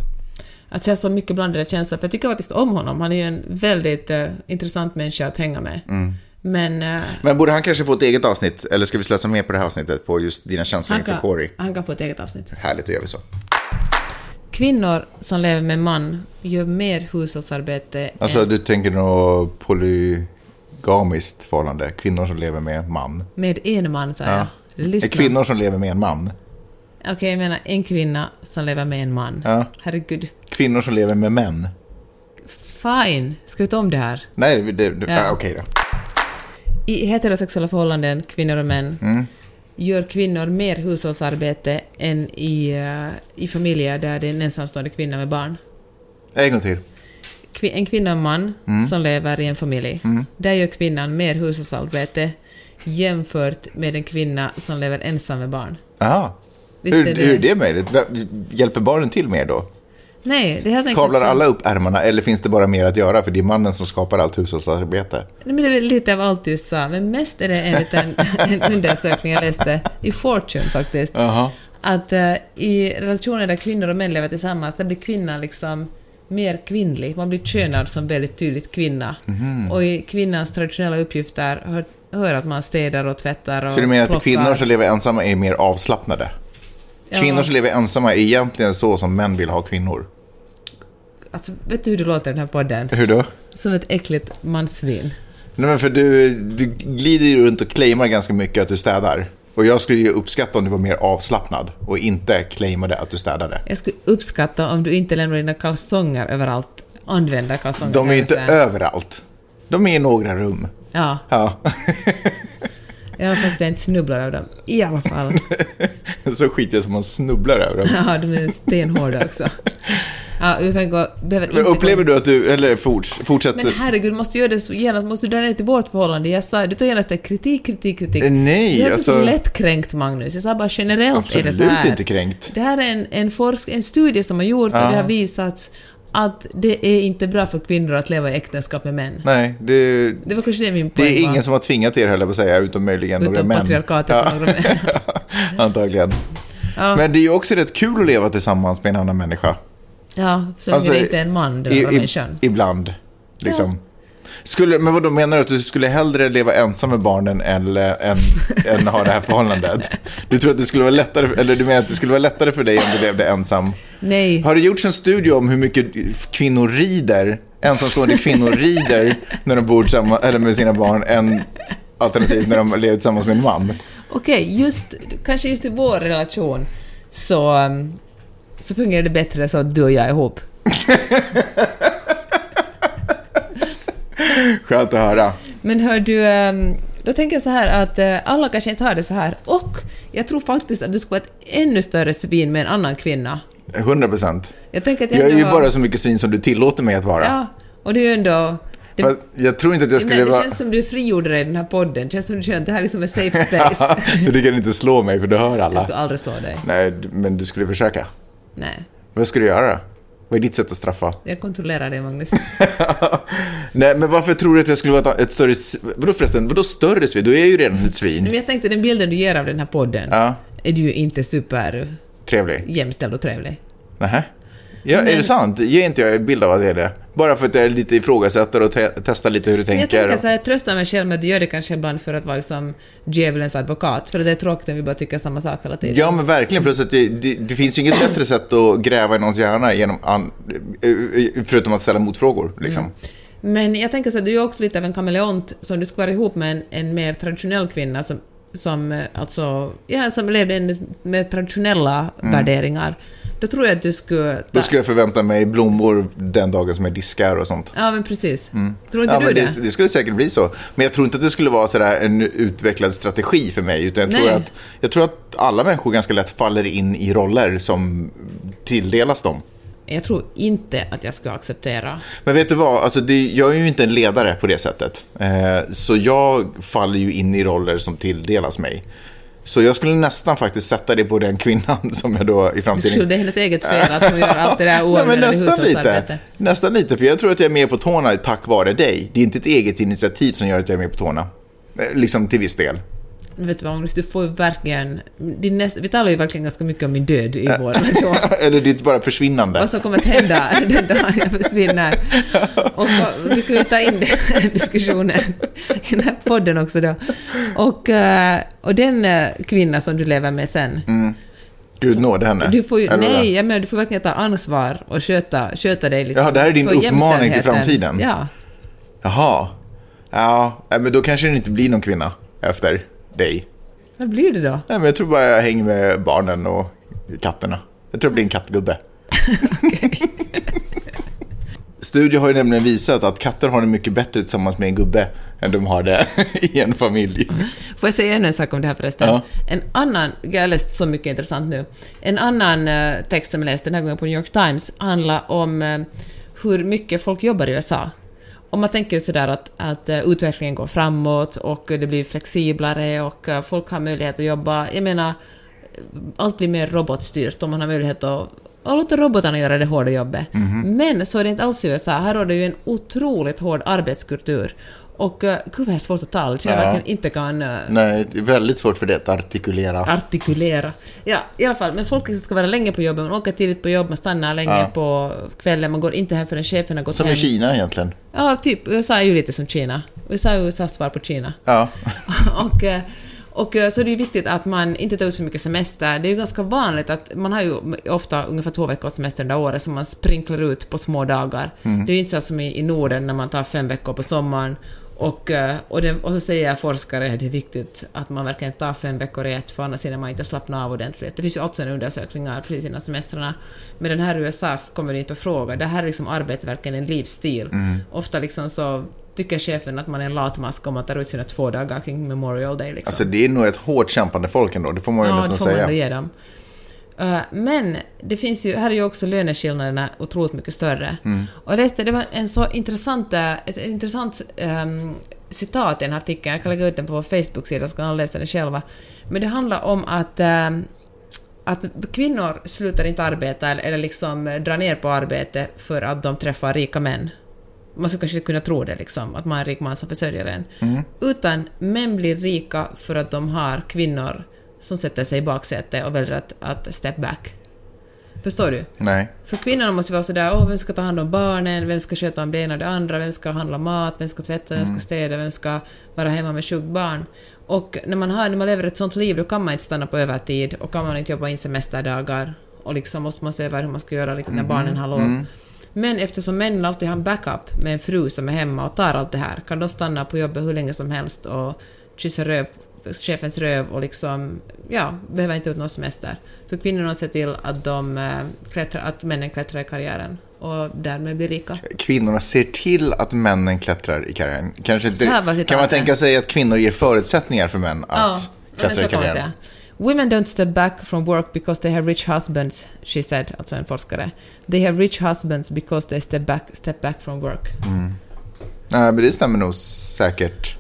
[SPEAKER 3] Alltså jag har så mycket blandade känslor, för jag tycker faktiskt om honom. Han är ju en väldigt eh, intressant människa att hänga med.
[SPEAKER 2] Mm.
[SPEAKER 3] Men eh,
[SPEAKER 2] Men borde han kanske få ett eget avsnitt? Eller ska vi slösa mer på det här avsnittet på just dina känslor
[SPEAKER 3] han,
[SPEAKER 2] inför
[SPEAKER 3] kan,
[SPEAKER 2] Corey?
[SPEAKER 3] han kan få ett eget avsnitt.
[SPEAKER 2] Härligt, då gör vi så.
[SPEAKER 3] Kvinnor som lever med man gör mer hushållsarbete
[SPEAKER 2] Alltså
[SPEAKER 3] än
[SPEAKER 2] du tänker nog polygamiskt förhållande, kvinnor som lever med man.
[SPEAKER 3] med en man, säger
[SPEAKER 2] Ja.
[SPEAKER 3] jag.
[SPEAKER 2] Eh,
[SPEAKER 3] Lyssna.
[SPEAKER 2] Kvinnor som lever med en man.
[SPEAKER 3] Okej, jag menar en kvinna som lever med en man.
[SPEAKER 2] Ja.
[SPEAKER 3] Herregud.
[SPEAKER 2] Kvinnor som lever med män.
[SPEAKER 3] Fine, ska vi ta om det här?
[SPEAKER 2] Nej, det, det,
[SPEAKER 3] Ja.
[SPEAKER 2] ah, okej då.
[SPEAKER 3] I heterosexuella förhållanden, kvinnor och män,
[SPEAKER 2] Mm.
[SPEAKER 3] gör kvinnor mer hushållsarbete än i, eh, i familjer där det är en ensamstående kvinna med barn.
[SPEAKER 2] En gång till.
[SPEAKER 3] Kvi- en kvinna och en man
[SPEAKER 2] Mm.
[SPEAKER 3] som lever i en familj, där gör kvinnan mer hushållsarbete jämfört med en kvinna som lever ensam med barn.
[SPEAKER 2] Jaha.
[SPEAKER 3] Visst
[SPEAKER 2] hur,
[SPEAKER 3] är det-
[SPEAKER 2] hur är det möjligt? Vem- Hjälper barnen till mer då?
[SPEAKER 3] Nej, det är helt enkelt
[SPEAKER 2] Kavlar
[SPEAKER 3] så-
[SPEAKER 2] alla upp ärmarna eller finns det bara mer att göra för det är mannen som skapar allt hushållsarbete?
[SPEAKER 3] Nej, men det är väl lite av allt du sa, men mest är det enligt en, en undersökning jag läste i Fortune faktiskt.
[SPEAKER 2] Jaha.
[SPEAKER 3] Att eh, i relationer där kvinnor och män lever tillsammans, där blir kvinnan liksom mer kvinnlig. Man blir könad som väldigt tydligt kvinna.
[SPEAKER 2] Mhm.
[SPEAKER 3] Och i kvinnans traditionella uppgifter hör, hör att man städar och tvättar och
[SPEAKER 2] Så du menar att
[SPEAKER 3] plockar.
[SPEAKER 2] kvinnor som lever ensamma är mer avslappnade?
[SPEAKER 3] Ja.
[SPEAKER 2] Kvinnor som lever ensamma är egentligen så som män vill ha kvinnor.
[SPEAKER 3] Alltså, vet du hur du låter i den här podden?
[SPEAKER 2] Hur då?
[SPEAKER 3] Som ett äckligt mansvin.
[SPEAKER 2] Nej, men för du, du glider ju runt och claimar ganska mycket att du städar. Och jag skulle ju uppskatta om du var mer avslappnad och inte claimade att du städade.
[SPEAKER 3] Jag skulle uppskatta om du inte lämnar dina kalsonger överallt. Använda kalsonger.
[SPEAKER 2] De är ju
[SPEAKER 3] kan
[SPEAKER 2] inte
[SPEAKER 3] jag säga.
[SPEAKER 2] överallt. De är i några rum.
[SPEAKER 3] Ja.
[SPEAKER 2] Ja,
[SPEAKER 3] I alla fall så att jag inte snubblar av dem. I alla fall.
[SPEAKER 2] så skiter jag som man snubblar över dem.
[SPEAKER 3] Ja, de är stenhårda också. Ja, vi får gå, behöver inte
[SPEAKER 2] Men
[SPEAKER 3] gå in-
[SPEAKER 2] Upplever du att du, eller forts, fortsätt.
[SPEAKER 3] Men herregud, måste du göra det så genast? Måste du dra ner till vårt förhållande? Jag sa, du tar genast det kritik, kritik, kritik.
[SPEAKER 2] Eh, nej,
[SPEAKER 3] jag är alltså...
[SPEAKER 2] alltså-
[SPEAKER 3] lättkränkt, Magnus. Jag sa bara generellt är det så
[SPEAKER 2] Absolut
[SPEAKER 3] här.
[SPEAKER 2] inte kränkt.
[SPEAKER 3] Det här är en, en, forsk, en studie som har gjorts och
[SPEAKER 2] Ja.
[SPEAKER 3] det har visats att det är inte bra för kvinnor att leva i äktenskap med män.
[SPEAKER 2] Nej, det,
[SPEAKER 3] Det var kanske det min
[SPEAKER 2] det
[SPEAKER 3] poäng
[SPEAKER 2] är
[SPEAKER 3] var.
[SPEAKER 2] ingen som har tvingat er höll jag på att säga, utom möjligen några
[SPEAKER 3] Utom
[SPEAKER 2] män.
[SPEAKER 3] patriarkatet och några män.
[SPEAKER 2] Antagligen.
[SPEAKER 3] Ja.
[SPEAKER 2] Men det är ju också rätt kul att leva tillsammans med en annan människa.
[SPEAKER 3] Ja, så
[SPEAKER 2] Alltså,
[SPEAKER 3] det inte är en man, den
[SPEAKER 2] I-
[SPEAKER 3] andra
[SPEAKER 2] i-
[SPEAKER 3] människan.
[SPEAKER 2] Ibland. Liksom. Skulle, men vad då menar du att du skulle hellre leva ensam med barnen eller, än, än ha det här förhållandet? Du tror att det skulle vara lättare, eller du menar att det skulle vara lättare för dig om du levde ensam?
[SPEAKER 3] Nej.
[SPEAKER 2] Har det gjorts en studie om hur mycket kvinnor rider, ensamstående kvinnor rider när de bor samma, eller med sina barn än alternativt när de lever tillsammans med en man?
[SPEAKER 3] Okej, just, kanske just i vår relation så, um, så fungerar det bättre så att du och jag är ihop.
[SPEAKER 2] Skönt att höra.
[SPEAKER 3] Men hör du, ehm, då tänker jag så här att eh, alla kanske inte har det så här och jag tror faktiskt att du skulle vara ett ännu större svin med en annan kvinna.
[SPEAKER 2] 100 procent.
[SPEAKER 3] Jag tänker att jag,
[SPEAKER 2] Jag är
[SPEAKER 3] ändå
[SPEAKER 2] ju
[SPEAKER 3] har-
[SPEAKER 2] bara så mycket svin som du tillåter mig att vara.
[SPEAKER 3] Ja, och det är ju ändå... Det,
[SPEAKER 2] Fast jag tror inte att jag skulle
[SPEAKER 3] nej, det
[SPEAKER 2] vara...
[SPEAKER 3] känns som du frigjorde dig i den här podden. Det känns som du känner att det här liksom är safe space.
[SPEAKER 2] för du kan inte slå mig för du hör
[SPEAKER 3] jag
[SPEAKER 2] alla.
[SPEAKER 3] skulle aldrig slå dig.
[SPEAKER 2] Nej, d- men du skulle försöka.
[SPEAKER 3] Nej.
[SPEAKER 2] Vad skulle du göra? Vad är ditt sätt att straffa?
[SPEAKER 3] Jag kontrollerar dig, Magnus.
[SPEAKER 2] Nej, men varför tror du att jag skulle vara ett- ett större... s- Vadå förresten, vadå större svin? Du är ju redan ett
[SPEAKER 3] Men
[SPEAKER 2] svin.
[SPEAKER 3] jag tänkte, den bilden du ger av den här podden
[SPEAKER 2] Ja.
[SPEAKER 3] är du ju inte super
[SPEAKER 2] Trevlig.
[SPEAKER 3] jämställd och trevlig.
[SPEAKER 2] Nähä? Ja, är det sant? Ger inte jag en bild av att det är det? Bara för att jag är lite ifrågasätter och te- testar lite hur du
[SPEAKER 3] Men jag
[SPEAKER 2] tänker.
[SPEAKER 3] tänker så här, jag tröstar mig själv med att du gör det kanske ibland för att vara liksom djävulens advokat, för det är tråkigt om vi bara tycker samma sak hela tiden.
[SPEAKER 2] Ja, men verkligen. Plus att det, det, det finns ju inget bättre sätt att gräva i någons hjärna genom an, eh, förutom att ställa motfrågor. Liksom.
[SPEAKER 3] Men jag tänker så här, du är också lite av en kameleont, som du skulle vara ihop med en, en mer traditionell kvinna som, som, eh, alltså, ja, som levde en, med traditionella värderingar. Då tror jag att du skulle... Ta,
[SPEAKER 2] Då Mm. skulle jag förvänta mig blommor den dagen som jag diskar och sånt.
[SPEAKER 3] Ja, men precis. Tror
[SPEAKER 2] Mm.
[SPEAKER 3] inte
[SPEAKER 2] Ja,
[SPEAKER 3] du
[SPEAKER 2] men
[SPEAKER 3] det?
[SPEAKER 2] det, det skulle säkert bli så. Men jag tror inte att det skulle vara sådär en utvecklad strategi för mig. Utan jag, tror
[SPEAKER 3] Nej.
[SPEAKER 2] att, jag tror att alla människor ganska lätt faller in i roller som tilldelas dem.
[SPEAKER 3] Jag tror inte att jag skulle acceptera.
[SPEAKER 2] Men vet du vad, alltså det, jag är ju inte en ledare på det sättet. Eh, så jag faller ju in i roller som tilldelas mig. Så jag skulle nästan faktiskt sätta det på den kvinnan som jag då i
[SPEAKER 3] Du skulle-
[SPEAKER 2] framtiden...
[SPEAKER 3] Det är hennes eget fel att hon gör allt det där
[SPEAKER 2] Nej, men
[SPEAKER 3] oavlönade
[SPEAKER 2] nästan
[SPEAKER 3] hushållsarbete.
[SPEAKER 2] lite. Nästan lite, för jag tror att jag är mer på tårna tack vare dig. Det är inte ett eget initiativ som gör att jag är mer på tårna. Eh, Liksom till viss del.
[SPEAKER 3] Men vet du vad Magnus, du får ju verkligen... Din nästa, vi talar ju verkligen ganska mycket om min död i vår relation.
[SPEAKER 2] Eller ditt bara försvinnande.
[SPEAKER 3] Vad som kommer att hända den dagen jag försvinner. Och vad- vi kan ju ta in den diskussionen i den här podden också då. Och, eh, och den eh, kvinna som du lever med sen,
[SPEAKER 2] Mm. Gud nåde henne.
[SPEAKER 3] du får ju...
[SPEAKER 2] Eller vad?
[SPEAKER 3] nej, jag menar, du får verkligen ta ansvar och sköta, sköta dig liksom
[SPEAKER 2] Jaha, det här är din
[SPEAKER 3] för
[SPEAKER 2] uppmaning till
[SPEAKER 3] jämställdheten.
[SPEAKER 2] framtiden.
[SPEAKER 3] Ja.
[SPEAKER 2] Jaha. Ja, nej, men då kanske det inte blir någon kvinna efter dig.
[SPEAKER 3] Vad blir det då?
[SPEAKER 2] Nej, men jag tror bara jag hänger med barnen och katterna. Jag tror det blir en kattgubbe. Studier har ju nämligen visat att katter har det mycket bättre tillsammans med en gubbe än de har det i en familj.
[SPEAKER 3] Får jag säga ännu en sak om det här förresten?
[SPEAKER 2] Ja.
[SPEAKER 3] En annan, jag har läst så mycket intressant nu. En annan eh, text som jag läste den här gången på New York Times handlar om eh, hur mycket folk jobbar i USA. Om man tänker ju sådär att, att eh, utvecklingen går framåt och det blir flexiblare och eh, folk har möjlighet att jobba. Jag menar, allt blir mer robotstyrt om man har möjlighet att att låta robotarna göra det hårda jobbet. Men så är det inte alls i USA. Här råder ju en otroligt hård arbetskultur. Och uh, gud vad det är svårt att tala. Jag känner
[SPEAKER 2] Ja.
[SPEAKER 3] verkligen inte kan eh,
[SPEAKER 2] Nej, det är väldigt svårt för det att artikulera.
[SPEAKER 3] artikulera. Ja, i alla fall. Men folk liksom ska vara länge på jobbet, man åker tidigt på jobb, man stannar länge
[SPEAKER 2] Ja.
[SPEAKER 3] på kvällen, man går inte hem förrän chefen har gått
[SPEAKER 2] Som
[SPEAKER 3] hem.
[SPEAKER 2] i Kina egentligen.
[SPEAKER 3] Ja, typ. USA är ju lite som Kina. USA är USAs svar på Kina.
[SPEAKER 2] Ja.
[SPEAKER 3] och, eh, och eh, så är det ju viktigt att man inte tar ut så mycket semester. Det är ju ganska vanligt att man har ju ofta ungefär två veckors semester under året som man sprinklar ut på små dagar. Det är ju inte så som i, i Norden när man tar fem veckor på sommaren och, eh, och, det, och så säger forskare att det är viktigt att man verkligen tar fem veckor i ett för annars hinner man inte slappna av ordentligt. Det finns ju också en undersökningar precis innan semestrarna. Men den här i USA kommer det inte på fråga. Det här är liksom arbete verkligen en livsstil. Ofta liksom så tycker chefen att man är en latmask om man tar ut sina två dagar kring Memorial Day. Liksom.
[SPEAKER 2] Alltså det är nog ett hårt kämpande folk ändå, det får man ju
[SPEAKER 3] ja, det
[SPEAKER 2] nästan
[SPEAKER 3] får man ändå
[SPEAKER 2] säga.
[SPEAKER 3] ge dem. Eh, Men det finns ju, här är ju också löneskillnaderna otroligt mycket större.
[SPEAKER 2] Mm.
[SPEAKER 3] Och jag läste, det var en så intressant, eh, ett intressant ehm, citat i den här artikeln, jag kan lägga ut den på vår Facebook-sida så kan alla läsa den själva. Men det handlar om att ehm, att kvinnor slutar inte arbeta eller, eller liksom eh, drar ner på arbete för att de träffar rika män. Man skulle kanske kunna tro det, liksom, att man är en rik man som försörjer en. Utan män blir rika för att de har kvinnor som sätter sig i baksätet och väljer att, att step back. Förstår du?
[SPEAKER 2] Nej.
[SPEAKER 3] För kvinnorna måste ju vara sådär, åh, vem ska ta hand om barnen, vem ska sköta om det ena och det andra, vem ska handla mat, vem ska tvätta, vem ska städa, vem ska vara hemma med sjukt barn. Och när man, har, när man lever ett sånt liv, då kan man inte stanna på övertid och kan man inte jobba in semesterdagar och liksom måste man se över hur man ska göra liksom, när barnen har lov. Men eftersom männen alltid har en backup med en fru som är hemma och tar allt det här, kan de stanna på jobbet hur länge som helst och kyssa röv, chefens röv och liksom, ja, behöver inte ut någon semester. För kvinnorna ser till att, de, eh, klättrar, att männen klättrar i karriären och därmed blir rika.
[SPEAKER 2] Kvinnorna ser till att männen klättrar i karriären. Kanske inte,
[SPEAKER 3] Så här var det
[SPEAKER 2] kan man
[SPEAKER 3] alltid.
[SPEAKER 2] tänka sig att kvinnor ger förutsättningar för män
[SPEAKER 3] Ja,
[SPEAKER 2] att
[SPEAKER 3] ja, men
[SPEAKER 2] klättra
[SPEAKER 3] så
[SPEAKER 2] i
[SPEAKER 3] kan man
[SPEAKER 2] karriären?
[SPEAKER 3] säga. Women don't step back from work because they have rich husbands, she said, alltså en forskare. They have rich husbands because they step back, step back from work.
[SPEAKER 2] Nej, men det stämmer nog säkert.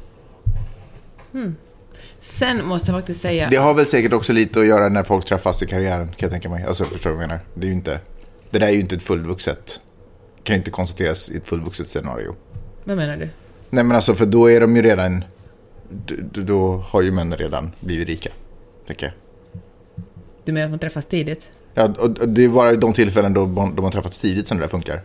[SPEAKER 3] Sen måste jag faktiskt säga...
[SPEAKER 2] Det har väl säkert också lite att göra när folk träffas i karriären, kan jag tänka mig. Alltså, förstår du vad jag menar? Det, är ju inte, det där är ju inte ett fullvuxet. kan ju inte konstateras i ett fullvuxet scenario.
[SPEAKER 3] Vad menar du?
[SPEAKER 2] Nej, men alltså, för då är de ju redan... d- d- Då har ju männen redan blivit rika, tänker jag.
[SPEAKER 3] Du menar att man träffas tidigt?
[SPEAKER 2] Ja, och och det är bara de tillfällen då man- de har träffats tidigt som det där funkar.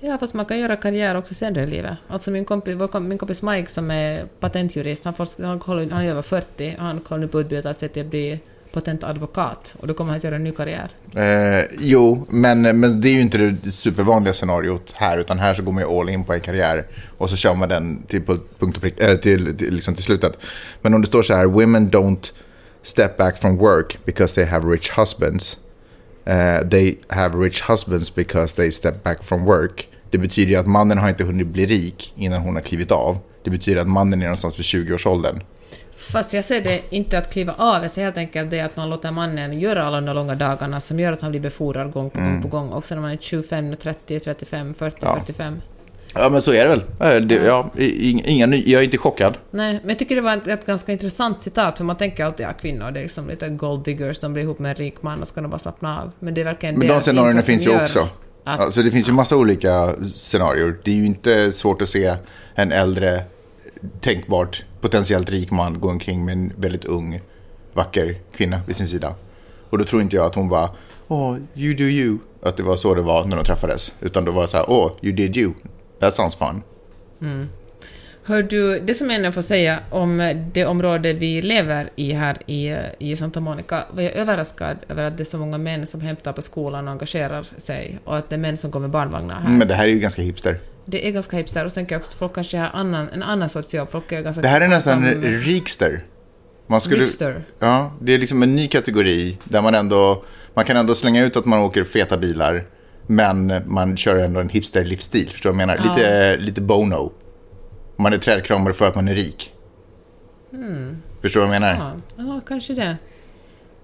[SPEAKER 3] Ja, fast man kan göra karriär också senare i livet. Alltså min kompis, vår kom- min kompis Mike som är patentjurist, han, forsk, han, håller, han är över 40 och han kommer nu på att utbilda sig till att bli patentadvokat och då kommer han att göra en ny karriär.
[SPEAKER 2] Eh, jo, men, men det är ju inte det supervanliga scenariot här, utan här så går man ju all in på en karriär och så kör man den till, pu- punkt och prick, eller till, till, liksom till slutet. Men om det står så här, women don't step back from work because they have rich husbands. Eh, they have rich husbands because they step back from work. Det betyder ju att mannen har inte hunnit bli rik innan hon har klivit av. Det betyder att mannen är någonstans vid 20-årsåldern.
[SPEAKER 3] Fast jag ser det inte att kliva av, jag ser helt enkelt det att man låter mannen göra alla de där långa dagarna som gör att han blir befordrad gång på gång på gång. Också när man är 25, 30, 35, 40,
[SPEAKER 2] Ja.
[SPEAKER 3] 45.
[SPEAKER 2] Ja, men så är det väl. Eh, det- Ja, i- inga, ny- jag är inte chockad.
[SPEAKER 3] Nej, men jag tycker det var ett, ett ganska intressant citat, för man tänker alltid att ja, kvinnor det är liksom lite gold diggers, de blir ihop med en rik man och ska de bara slappna av. Men det är verkligen
[SPEAKER 2] Men
[SPEAKER 3] det
[SPEAKER 2] de scenarierna
[SPEAKER 3] insatsen
[SPEAKER 2] finns ju
[SPEAKER 3] gör
[SPEAKER 2] också.
[SPEAKER 3] Att,
[SPEAKER 2] Alltså det finns ju massa olika scenarier. Det är ju inte svårt att se en äldre, tänkbart, potentiellt rik man gå omkring med en väldigt ung, vacker kvinna vid sin sida. Och då tror inte jag att hon bara, åh, you do you. Att det var så det var när de träffades. Utan då var det så här, åh, you did you. That sounds fun.
[SPEAKER 3] Hör du, det som jag ändå får säga om det område vi lever i här i, i Santa Monica, var jag överraskad över att det är så många män som hämtar på skolan och engagerar sig och att det är män som går med barnvagnar här.
[SPEAKER 2] Men det här är ju ganska hipster.
[SPEAKER 3] Det är ganska hipster och så tänker jag också att folk kanske har annan, en annan sorts jobb. Folk är ganska
[SPEAKER 2] Det här är nästan
[SPEAKER 3] Mm. som-
[SPEAKER 2] rikster. Man skulle,
[SPEAKER 3] Rikster.
[SPEAKER 2] Ja, det är liksom en ny kategori där man ändå, man kan ändå slänga ut att man åker feta bilar, men man kör ändå en hipster-livsstil, förstår du vad jag menar? Lite, lite Bono. Man är trädkramare för att man är rik. Förstår du vad jag menar?
[SPEAKER 3] Mm. Ja, ja, kanske det.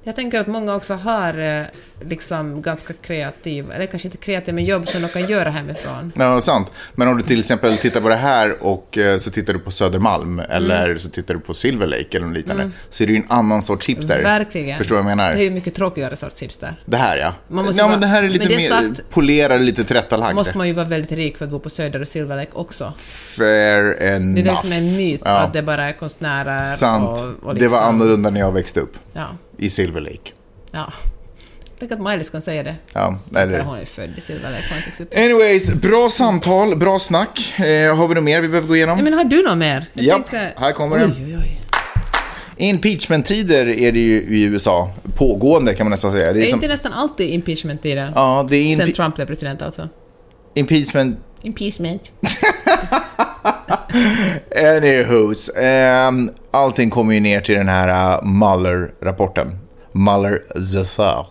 [SPEAKER 3] Jag tänker att många också har eh, liksom ganska kreativ, eller kanske inte kreativ, men jobb som de kan göra hemifrån.
[SPEAKER 2] Ja, sant. Men om du till exempel tittar på det här och eh, så tittar du på Södermalm eller
[SPEAKER 3] Mm.
[SPEAKER 2] så tittar du på Silver Lake eller något liknande, så är det ju en annan sorts hipster.
[SPEAKER 3] Verkligen.
[SPEAKER 2] Förstår du vad jag menar?
[SPEAKER 3] Det är ju mycket tråkigare sorts hipster.
[SPEAKER 2] Det här ja.
[SPEAKER 3] Man måste
[SPEAKER 2] ja,
[SPEAKER 3] vara-
[SPEAKER 2] men det här är lite
[SPEAKER 3] men det är
[SPEAKER 2] mer
[SPEAKER 3] sagt-
[SPEAKER 2] polerad, lite tillrättalagd.
[SPEAKER 3] Måste man ju vara väldigt rik för att bo på Söder och Silver Lake också.
[SPEAKER 2] Fair enough.
[SPEAKER 3] Det är det som är en myt,
[SPEAKER 2] Ja.
[SPEAKER 3] att det bara är konstnärer
[SPEAKER 2] Sant.
[SPEAKER 3] och, och
[SPEAKER 2] Det var
[SPEAKER 3] liksom-
[SPEAKER 2] annorlunda när jag växte upp
[SPEAKER 3] Ja,
[SPEAKER 2] i Silver Lake.
[SPEAKER 3] ja. Tänk att Maj-Lis kan säga det.
[SPEAKER 2] Ja,
[SPEAKER 3] Fast
[SPEAKER 2] eller...
[SPEAKER 3] Hon är ju född i Silver Lake, hon har inte växt upp
[SPEAKER 2] Anyways, bra samtal, bra snack. Eh, har vi något mer vi behöver gå igenom?
[SPEAKER 3] Nej, men har du något mer? Jag
[SPEAKER 2] Japp, här kommer den.
[SPEAKER 3] Oj, oj, oj.
[SPEAKER 2] Impeachment-tider är det ju i USA. Pågående kan man nästan säga. Det
[SPEAKER 3] Det
[SPEAKER 2] är
[SPEAKER 3] är
[SPEAKER 2] som...
[SPEAKER 3] inte nästan alltid impeachment-tiden?
[SPEAKER 2] Ja, det är
[SPEAKER 3] Sen
[SPEAKER 2] impe-
[SPEAKER 3] Trump blev president alltså.
[SPEAKER 2] impeachment
[SPEAKER 3] Impeachment.
[SPEAKER 2] Anyhoos, ehm, allting kommer ju ner till den här eh, Mueller-rapporten. Mueller Zessard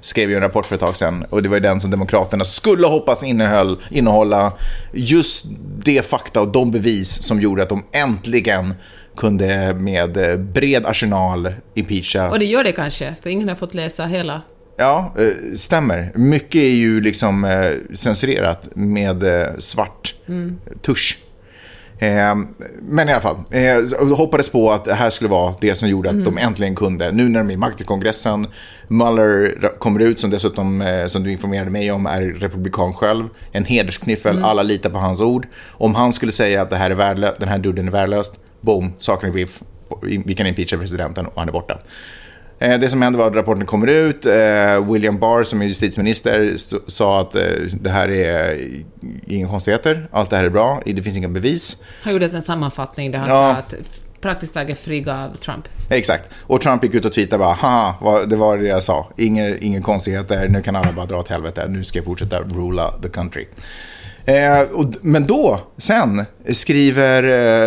[SPEAKER 2] skrev ju en rapport för ett tag sedan och det var ju den som Demokraterna skulle hoppas innehöll, innehålla just det fakta och de bevis som gjorde att de äntligen kunde med eh, bred arsenal impeacha
[SPEAKER 3] Och det gör det kanske, för ingen har fått läsa hela.
[SPEAKER 2] Ja, eh, stämmer. Mycket är ju liksom eh, censurerat med eh, svart tusch. Eh, Men i alla fall, eh, så hoppades på att det här skulle vara det som gjorde att de äntligen kunde, nu när de är i makten i kongressen, Mueller ra- kommer ut som dessutom, eh, som du informerade mig om, är republikan själv, en hedersknyffel, alla litar på hans ord. Om han skulle säga att det här är värdelö- den här dudden är värdelöst, boom, saken är biff, vi kan impeacha presidenten och han är borta. Eh, Det som hände var att rapporten kommer ut. Eh, William Barr som är justitieminister s- sa att eh, det här är eh, inga konstigheter, allt det här är bra, det finns inga bevis.
[SPEAKER 3] Han gjorde en sammanfattning där han
[SPEAKER 2] Ja.
[SPEAKER 3] sa att f- praktiskt taget frigav Trump.
[SPEAKER 2] Exakt. Och Trump gick ut och tweetade bara, haha, vad- det var det jag sa. Inga, inga konstigheter, nu kan alla bara dra åt helvete, nu ska jag fortsätta rula the country. Eh, och, d- men då, sen, skriver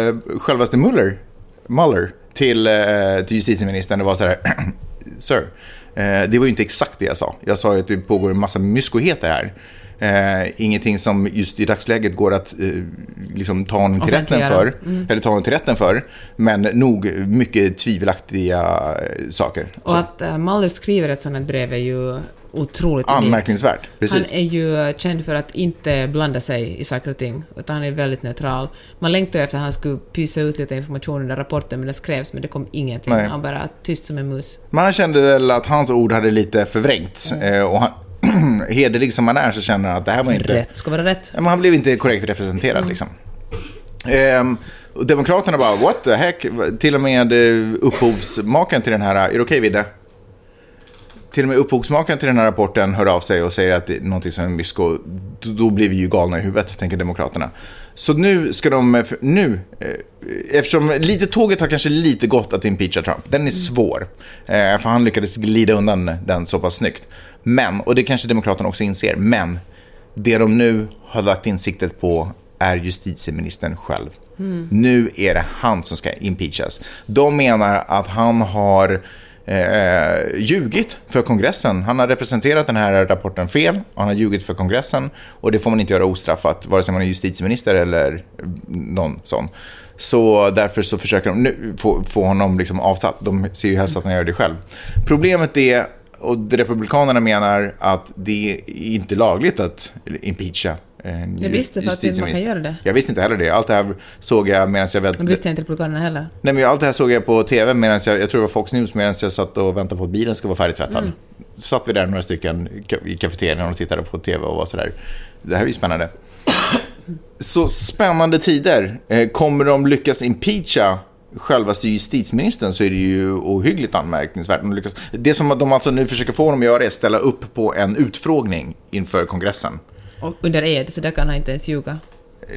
[SPEAKER 2] eh, självaste Mueller, Mueller till, eh, till justitieministern, det var så här, sir, eh, det var ju inte exakt det jag sa. Jag sa ju att det pågår en massa myskoheter här. Eh, ingenting som just i dagsläget går att eh, liksom ta honom till rätten
[SPEAKER 3] Offentliggöra.
[SPEAKER 2] för Mm. eller ta honom till rätten för. Men nog mycket tvivelaktiga eh, saker.
[SPEAKER 3] Och att uh, Mueller skriver ett sånt här brev är ju otroligt unikt.
[SPEAKER 2] Anmärkningsvärt, precis.
[SPEAKER 3] Han är ju eh, känd för att inte blanda sig i saker och ting, utan han är väldigt neutral. Man längtade efter att han skulle pysa ut lite information under rapporten, men den skrevs, men det kom ingenting.
[SPEAKER 2] Nej.
[SPEAKER 3] Han bara tyst som en mus.
[SPEAKER 2] Men han kände väl att hans ord hade lite förvrängts.
[SPEAKER 3] Mm.
[SPEAKER 2] eh, Och han, hederlig som han är så känner han att det här var inte...
[SPEAKER 3] Rätt ska vara rätt.
[SPEAKER 2] Ja, Men han blev inte korrekt representerad. Liksom. Ehm, och Demokraterna bara, what the heck? Till och med eh, upphovsmakaren till den här, är det okej Vidde? Till och med upphovsmakaren till den här rapporten hör av sig och säger att det är någonting som är mysko. Då, då blir vi ju galna i huvudet, tänker Demokraterna. Så nu ska de, eh, för- nu, eh, eftersom lite tåget har kanske lite gått att impeacha Trump. Den är svår, eh, för han lyckades glida undan den så pass snyggt. Men, och det kanske Demokraterna också inser, men det de nu har lagt in siktet på är justitieministern själv. Nu är det han som ska impeachas. De menar att han har eh, ljugit för kongressen. Han har representerat den här rapporten fel. och Han har ljugit för kongressen. Och det får man inte göra ostraffat, vare sig man är justitieminister eller någon sån. Så därför så försöker de nu få, få honom liksom avsatt. De ser ju helst att han gör det själv. Problemet är och de- republikanerna menar att det är inte lagligt att impeacha en
[SPEAKER 3] Jag visste faktiskt inte man kan
[SPEAKER 2] justitieminister.
[SPEAKER 3] göra det.
[SPEAKER 2] Jag visste inte heller det. Allt det här såg jag medan jag
[SPEAKER 3] Men
[SPEAKER 2] väntade.
[SPEAKER 3] det visste jag inte Republikanerna heller.
[SPEAKER 2] Nej, men allt det här såg jag på tv medan jag, jag tror det var Fox News, medan jag satt och väntade på att bilen skulle vara färdigtvättad. Så satt vi där några stycken i- i kafeterian och tittade på tv och var sådär. Det här är ju spännande. Så spännande tider. Eh, Kommer de lyckas impeacha självaste justitieministern så är det ju ohyggligt anmärkningsvärt. De lyckas... Det som de alltså nu försöker få honom att göra är att ställa upp på en utfrågning inför kongressen.
[SPEAKER 3] Och under ed, så där kan han inte ens ljuga.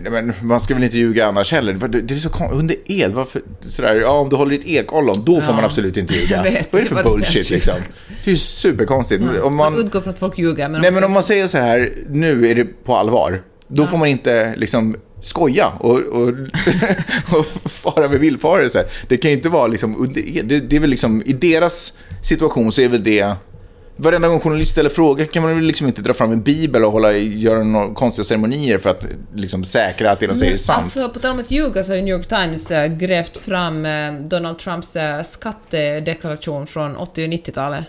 [SPEAKER 2] Nej, Men man ska väl inte ljuga annars heller. Vad- Det det är så kon- Under ed, varför? Sådär, ja, om du håller i ett ekollon, då får
[SPEAKER 3] Ja.
[SPEAKER 2] man absolut inte ljuga.
[SPEAKER 3] Jag vet,
[SPEAKER 2] Vad är det
[SPEAKER 3] det
[SPEAKER 2] för
[SPEAKER 3] var det
[SPEAKER 2] bullshit
[SPEAKER 3] ställt
[SPEAKER 2] liksom? Det är ju superkonstigt. Om man,
[SPEAKER 3] Man utgår från att folk ljuger, men
[SPEAKER 2] nej, men om man säger så här, nu är det på allvar, då får man inte liksom skoja och, och, och fara med villfarelser. Det kan ju inte vara liksom under ed. Det, det är väl liksom, i deras situation så är väl det Varenda gång journalist ställer frågor kan man väl liksom inte dra fram en bibel och hålla, göra några konstiga ceremonier för att liksom säkra att det de säger är sant.
[SPEAKER 3] Alltså, på tal om att ljuga så har ju New York Times eh, grävt fram eh, Donald Trumps eh, skattedeklaration från 80 och 90-talet.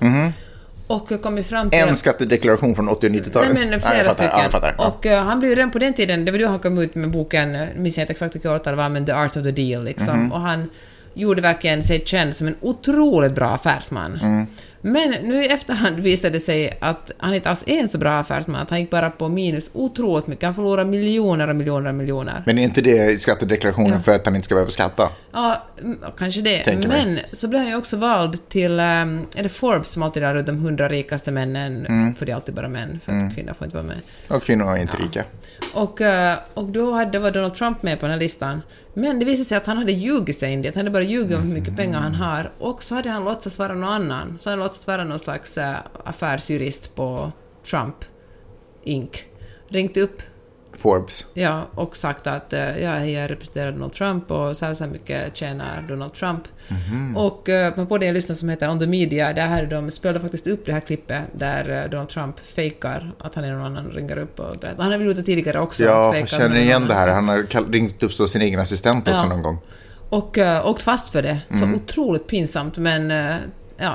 [SPEAKER 3] Och eh, kommit fram till...
[SPEAKER 2] Mhm. En
[SPEAKER 3] att-
[SPEAKER 2] skattedeklaration från 80 och 90-talet.
[SPEAKER 3] Nej, men
[SPEAKER 2] Ja,
[SPEAKER 3] flera
[SPEAKER 2] jag fattar,
[SPEAKER 3] stycken.
[SPEAKER 2] Ja, jag fattar. Ja.
[SPEAKER 3] Och eh, han blev ju redan på den tiden, det var då han kom ut med boken, eh, minns jag inte exakt vilket årtal det var, men The Art of the Deal liksom.
[SPEAKER 2] Mhm.
[SPEAKER 3] Och han gjorde verkligen sig känd som en otroligt bra affärsman.
[SPEAKER 2] Mm.
[SPEAKER 3] Men nu i efterhand visade det sig att han inte alls är en så bra affärsman, att han gick bara på minus otroligt mycket. Han förlorade miljoner och miljoner och miljoner.
[SPEAKER 2] Men är inte det skattedeklarationen för att han inte ska behöva skatta?
[SPEAKER 3] Ja, mm, kanske det.
[SPEAKER 2] Tänker mig.
[SPEAKER 3] men så blev han ju också vald till, ehm, är det Forbes som alltid är de hundra rikaste männen,
[SPEAKER 2] Mm.
[SPEAKER 3] för det är alltid bara män, för att kvinnor får inte vara med.
[SPEAKER 2] Och kvinnor är inte rika.
[SPEAKER 3] Och, eh, och då hade, var Donald Trump med på den här listan. Men det visade sig att han hade ljugit sig in dit. Han hade bara ljugit om hur
[SPEAKER 2] Mm.
[SPEAKER 3] mycket pengar han har. Och så hade han låtsats vara någon annan. Så han låtsats vara någon slags eh, affärsjurist på Trump Inc. Ringt upp
[SPEAKER 2] Forbes.
[SPEAKER 3] ja, och sagt att eh, ja, hej, jag representerar Donald Trump och så här, så här mycket tjänar Donald Trump.
[SPEAKER 2] Mhm.
[SPEAKER 3] Och eh, på podden jag lyssnar som heter On the Media, där hade de spelade faktiskt upp det här klippet där eh, Donald Trump fejkar att han är någon annan, ringer upp och berättar. Han har väl gjort det tidigare också.
[SPEAKER 2] Ja,
[SPEAKER 3] fejkat
[SPEAKER 2] jag
[SPEAKER 3] med
[SPEAKER 2] känner
[SPEAKER 3] någon
[SPEAKER 2] igen
[SPEAKER 3] annan.
[SPEAKER 2] det här. Han har kall- ringt upp så sin egen assistent också
[SPEAKER 3] Mm. Ja.
[SPEAKER 2] någon gång.
[SPEAKER 3] och eh, åkt fast för det.
[SPEAKER 2] Mhm.
[SPEAKER 3] Så otroligt pinsamt, men eh, ja.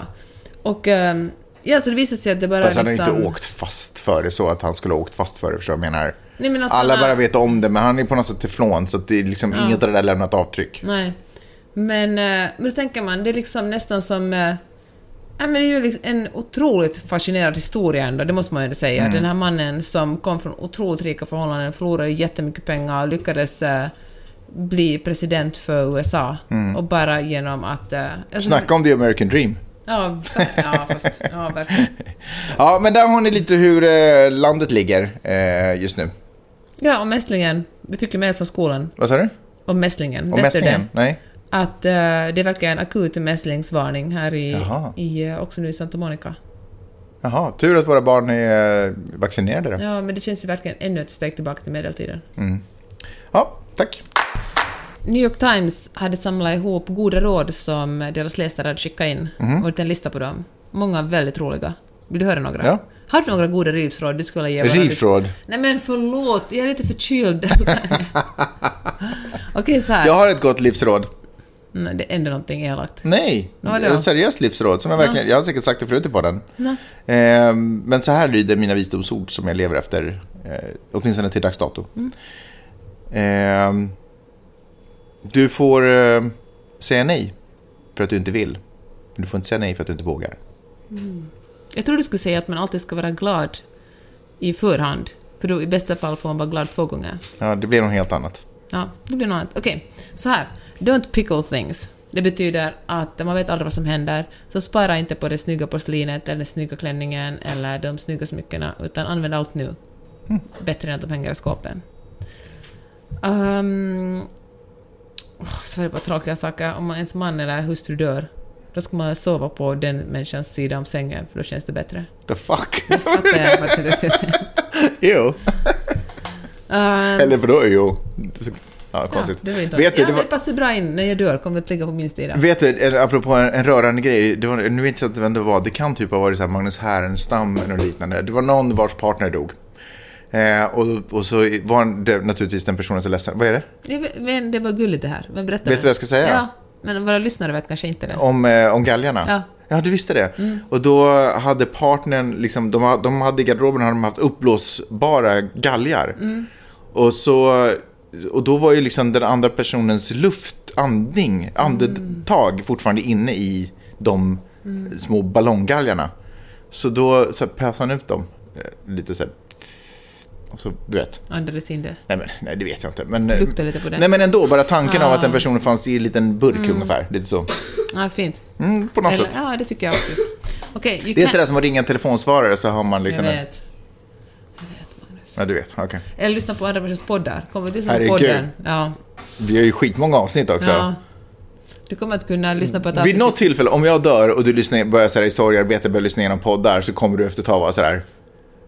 [SPEAKER 3] Och eh, ja, så det visade sig att det bara
[SPEAKER 2] Fast han har ju
[SPEAKER 3] liksom...
[SPEAKER 2] inte åkt fast för det så att han skulle ha åkt fast för det. Förstår du vad jag menar?
[SPEAKER 3] Nej, men alltså,
[SPEAKER 2] Alla
[SPEAKER 3] han-
[SPEAKER 2] bara vet om det, men han är på något sätt teflon så att det är liksom inget av det där lämnat avtryck.
[SPEAKER 3] Nej. Men, eh, men då tänker man, det är liksom nästan som... eh, Ja, men det är ju liksom en otroligt fascinerad historia ändå, det måste man ju ändå säga.
[SPEAKER 2] Mm.
[SPEAKER 3] Den här mannen som kom från otroligt rika förhållanden, förlorade jättemycket pengar och lyckades eh, bli president för USA.
[SPEAKER 2] Mm.
[SPEAKER 3] Och bara genom att... eh, alltså-
[SPEAKER 2] Snacka om the American dream.
[SPEAKER 3] Ja, ver- ja, fast, ja, verkligen.
[SPEAKER 2] Ja, men där har ni lite hur eh, landet ligger eh, just nu.
[SPEAKER 3] Ja, och mässlingen. Vi fick ju mejl från skolan
[SPEAKER 2] Vad sa du?
[SPEAKER 3] om mässlingen.
[SPEAKER 2] Om
[SPEAKER 3] Läste du det?
[SPEAKER 2] mässlingen? Nej.
[SPEAKER 3] Att eh, det verkar en akut mässlingsvarning här i,
[SPEAKER 2] Jaha.
[SPEAKER 3] i eh, också nu i Santa Monica.
[SPEAKER 2] Jaha, tur att våra barn är eh, vaccinerade då.
[SPEAKER 3] Ja, men det känns ju verkligen ännu ett steg tillbaka till medeltiden.
[SPEAKER 2] Mm. Ja, tack.
[SPEAKER 3] New York Times hade samlat ihop goda råd som deras läsare hade skickat in
[SPEAKER 2] Mhm.
[SPEAKER 3] och gjort en lista på dem. Många väldigt roliga. Vill du höra några?
[SPEAKER 2] Ja.
[SPEAKER 3] Har du några goda rivsråd du skulle vilja ge? våra
[SPEAKER 2] Rivsråd.
[SPEAKER 3] lyssnare? Nej men förlåt, jag är lite förkyld. Okej, så här.
[SPEAKER 2] Jag har ett gott livsråd.
[SPEAKER 3] Mm, det är ändå någonting elakt.
[SPEAKER 2] Nej,
[SPEAKER 3] Vadå?
[SPEAKER 2] ett seriöst livsråd. Som jag, verkligen, jag har säkert sagt det förut i podden.
[SPEAKER 3] Nej.
[SPEAKER 2] Eh, men så här lyder mina visdomsord som jag lever efter, eh, åtminstone till dags dato.
[SPEAKER 3] Mm.
[SPEAKER 2] Eh, du får eh, säga nej för att du inte vill. Men du får inte säga nej för att du inte vågar.
[SPEAKER 3] Jag tror du skulle säga att man alltid ska vara glad i förhand. För då i bästa fall får man vara glad två gånger.
[SPEAKER 2] Ja, det blir något helt annat.
[SPEAKER 3] Ja, det blir något annat. Okej, så här. Don't pickle things. Det betyder att man vet aldrig vad som händer, så spara inte på det snygga porslinet eller den snygga klänningen eller de snygga smyckena, utan använd allt nu.
[SPEAKER 2] Hm.
[SPEAKER 3] Bättre än att de hänger i skåpen. Um, åh, så var det bara tråkiga saker. Om ens man eller hustru dör, då ska man sova på den människans sida om sängen, för då känns det bättre.
[SPEAKER 2] The fuck?
[SPEAKER 3] Fattar jag faktiskt inte riktigt.
[SPEAKER 2] jo.
[SPEAKER 3] Ehm,
[SPEAKER 2] Eller vadå jo? Ja, konstigt.
[SPEAKER 3] Ja, det var inte
[SPEAKER 2] vet du,
[SPEAKER 3] ja,
[SPEAKER 2] det
[SPEAKER 3] det,
[SPEAKER 2] var,
[SPEAKER 3] passar bra in. När jag dör kommer det att ligga på min sida.
[SPEAKER 2] Vet du, en- apropå en, en rörande grej, det var, nu vet jag inte vem det var, det kan typ ha varit så här Magnus Härenstam eller något liknande. Det var någon vars partner dog. Eh, och, och så var det naturligtvis den personen så ledsen. Vad är det?
[SPEAKER 3] Det, var- men det var gulligt det här. Men
[SPEAKER 2] Vet
[SPEAKER 3] berätta nu.
[SPEAKER 2] du vad jag ska säga?
[SPEAKER 3] Ja, men våra lyssnare vet kanske inte det.
[SPEAKER 2] Om, eh, om galgarna?
[SPEAKER 3] Ja. Mm.
[SPEAKER 2] du visste det. Och då hade partnern, liksom, de, ha- de hade i garderoben hade de haft uppblåsbara galgar.
[SPEAKER 3] Mm.
[SPEAKER 2] Och, så, och då var ju liksom den andra personens luftandning, andetag
[SPEAKER 3] Mm.
[SPEAKER 2] fortfarande inne i de eh, små ballonggalgarna. Så då så här pös han ut dem eh, lite så här. Och så, du vet.
[SPEAKER 3] Andades in det.
[SPEAKER 2] Nej, men, nej, det vet jag inte. Men, eh,
[SPEAKER 3] Lukta lite på det. Ah.
[SPEAKER 2] Nej, men ändå. Bara tanken av att den personen fanns i en liten burk ungefär. Lite så.
[SPEAKER 3] Ja, fint.
[SPEAKER 2] Mm, på något
[SPEAKER 3] Eller,
[SPEAKER 2] sätt.
[SPEAKER 3] ja, det tycker jag faktiskt. Okej, you
[SPEAKER 2] Det är
[SPEAKER 3] can-
[SPEAKER 2] sådär som att ringa en telefonsvarare så har man
[SPEAKER 3] Jag
[SPEAKER 2] liksom... en-
[SPEAKER 3] vet. Jag vet, Magnus.
[SPEAKER 2] Ja, du vet. Okej.
[SPEAKER 3] Eller lyssna på andra människors poddar. Kommer du lyssna på
[SPEAKER 2] Herregud.
[SPEAKER 3] podden? Ja.
[SPEAKER 2] Vi har ju skitmånga avsnitt också.
[SPEAKER 3] ja. alltså- Du kommer att kunna lyssna på ett
[SPEAKER 2] Vid
[SPEAKER 3] avsnitt.
[SPEAKER 2] något tillfälle, om jag dör och du lyssnar, börjar sådär, i sorgarbete börjar lyssna igenom poddar så kommer du efter ett tag vara sådär...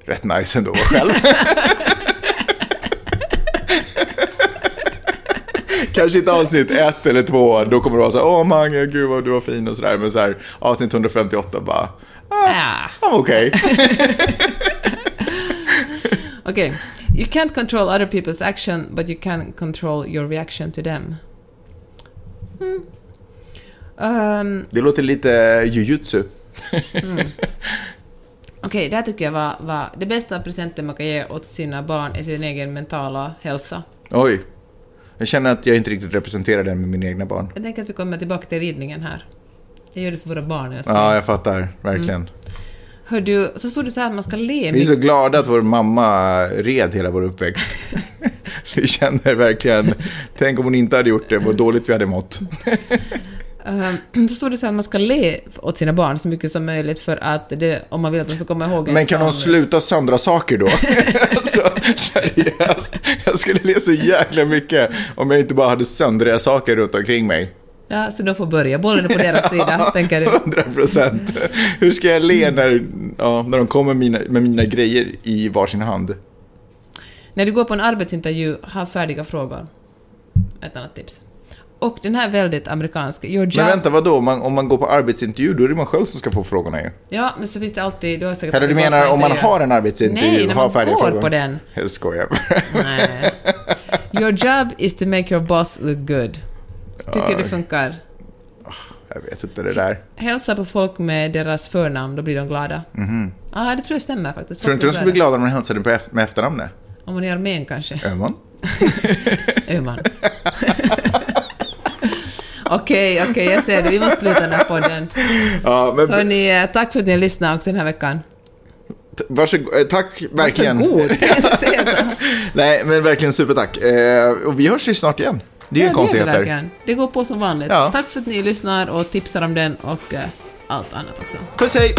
[SPEAKER 2] Rätt nice ändå själv. Kanske inte avsnitt ett eller två, då kommer du vara såhär, åh Mange, gud vad du var fin och sådär. Men såhär, avsnitt 158 bara, "Ah,
[SPEAKER 3] Ja.
[SPEAKER 2] I'm okay.
[SPEAKER 3] Okej. You can't control other people's action, but you can control your reaction to them. Hmm. Mm. Ehm,
[SPEAKER 2] Det låter lite jujutsu.
[SPEAKER 3] Okej, det här tycker jag var, var det bästa presenten man kan ge åt sina barn är sin egen mentala hälsa.
[SPEAKER 2] Oj. Jag känner att jag inte riktigt representerar den med mina egna barn.
[SPEAKER 3] Jag tänker att vi kommer tillbaka till ridningen här. Jag gör det för våra barn. Jag
[SPEAKER 2] Ja, jag fattar. Verkligen.
[SPEAKER 3] Hör du, så stod det så här att man ska le
[SPEAKER 2] Vi är
[SPEAKER 3] mycket.
[SPEAKER 2] så glada att vår mamma red hela vår uppväxt. vi känner verkligen, tänk om hon inte hade gjort det, vad dåligt vi hade mått.
[SPEAKER 3] Ehm, Så stod det så här att man ska le åt sina barn så mycket som möjligt för att det, om man vill att de ska komma ihåg en
[SPEAKER 2] Men kan hon
[SPEAKER 3] sång.
[SPEAKER 2] sluta söndra saker då? alltså, seriöst. Jag skulle le så jäkla mycket om jag inte bara hade söndriga saker runt omkring mig.
[SPEAKER 3] Ja, så de får börja. Bollen är på deras sida, tänker du.
[SPEAKER 2] 100 procent. Hur ska jag le när, ja, när de kommer med mina, med mina grejer i varsin hand?
[SPEAKER 3] När du går på en arbetsintervju, ha färdiga frågor. Ett annat tips. Och den här är väldigt amerikansk. Your job...
[SPEAKER 2] Men vänta, vadå? Om man, om man går på arbetsintervju, då är det man själv som ska få frågorna ju.
[SPEAKER 3] Ja, men så finns det alltid... Du har säkert
[SPEAKER 2] Eller du menar om man har en arbetsintervju?
[SPEAKER 3] Nej, när
[SPEAKER 2] har
[SPEAKER 3] man
[SPEAKER 2] färdiga
[SPEAKER 3] går
[SPEAKER 2] frågor.
[SPEAKER 3] på den.
[SPEAKER 2] Jag skojar bara.
[SPEAKER 3] Nej. Your job is to make your boss look good. Tycker det funkar?
[SPEAKER 2] Jag vet inte det där.
[SPEAKER 3] Hälsa på folk med deras förnamn, då blir de glada. Ja, det tror jag stämmer faktiskt.
[SPEAKER 2] Mhm. Tror du inte de skulle bli glada om man hälsade på eft- med efternamnet?
[SPEAKER 3] Om man är i armén kanske.
[SPEAKER 2] Öhman?
[SPEAKER 3] Öhman. Okej, okej, jag ser det. Vi måste sluta den här podden.
[SPEAKER 2] Ja, men
[SPEAKER 3] Hörni, eh, tack för att ni har lyssnat också den här veckan.
[SPEAKER 2] t- varsågod, eh, tack verkligen.
[SPEAKER 3] Varsågod! Säger jag så.
[SPEAKER 2] Nej, men verkligen supertack. Eh, och vi hörs ju snart igen. Det är ju
[SPEAKER 3] Ja, det gör vi
[SPEAKER 2] konstigheter.
[SPEAKER 3] verkligen. Det går på som vanligt.
[SPEAKER 2] Ja.
[SPEAKER 3] Tack för att ni lyssnar och tipsar om den och eh, allt annat också.
[SPEAKER 2] Puss hej!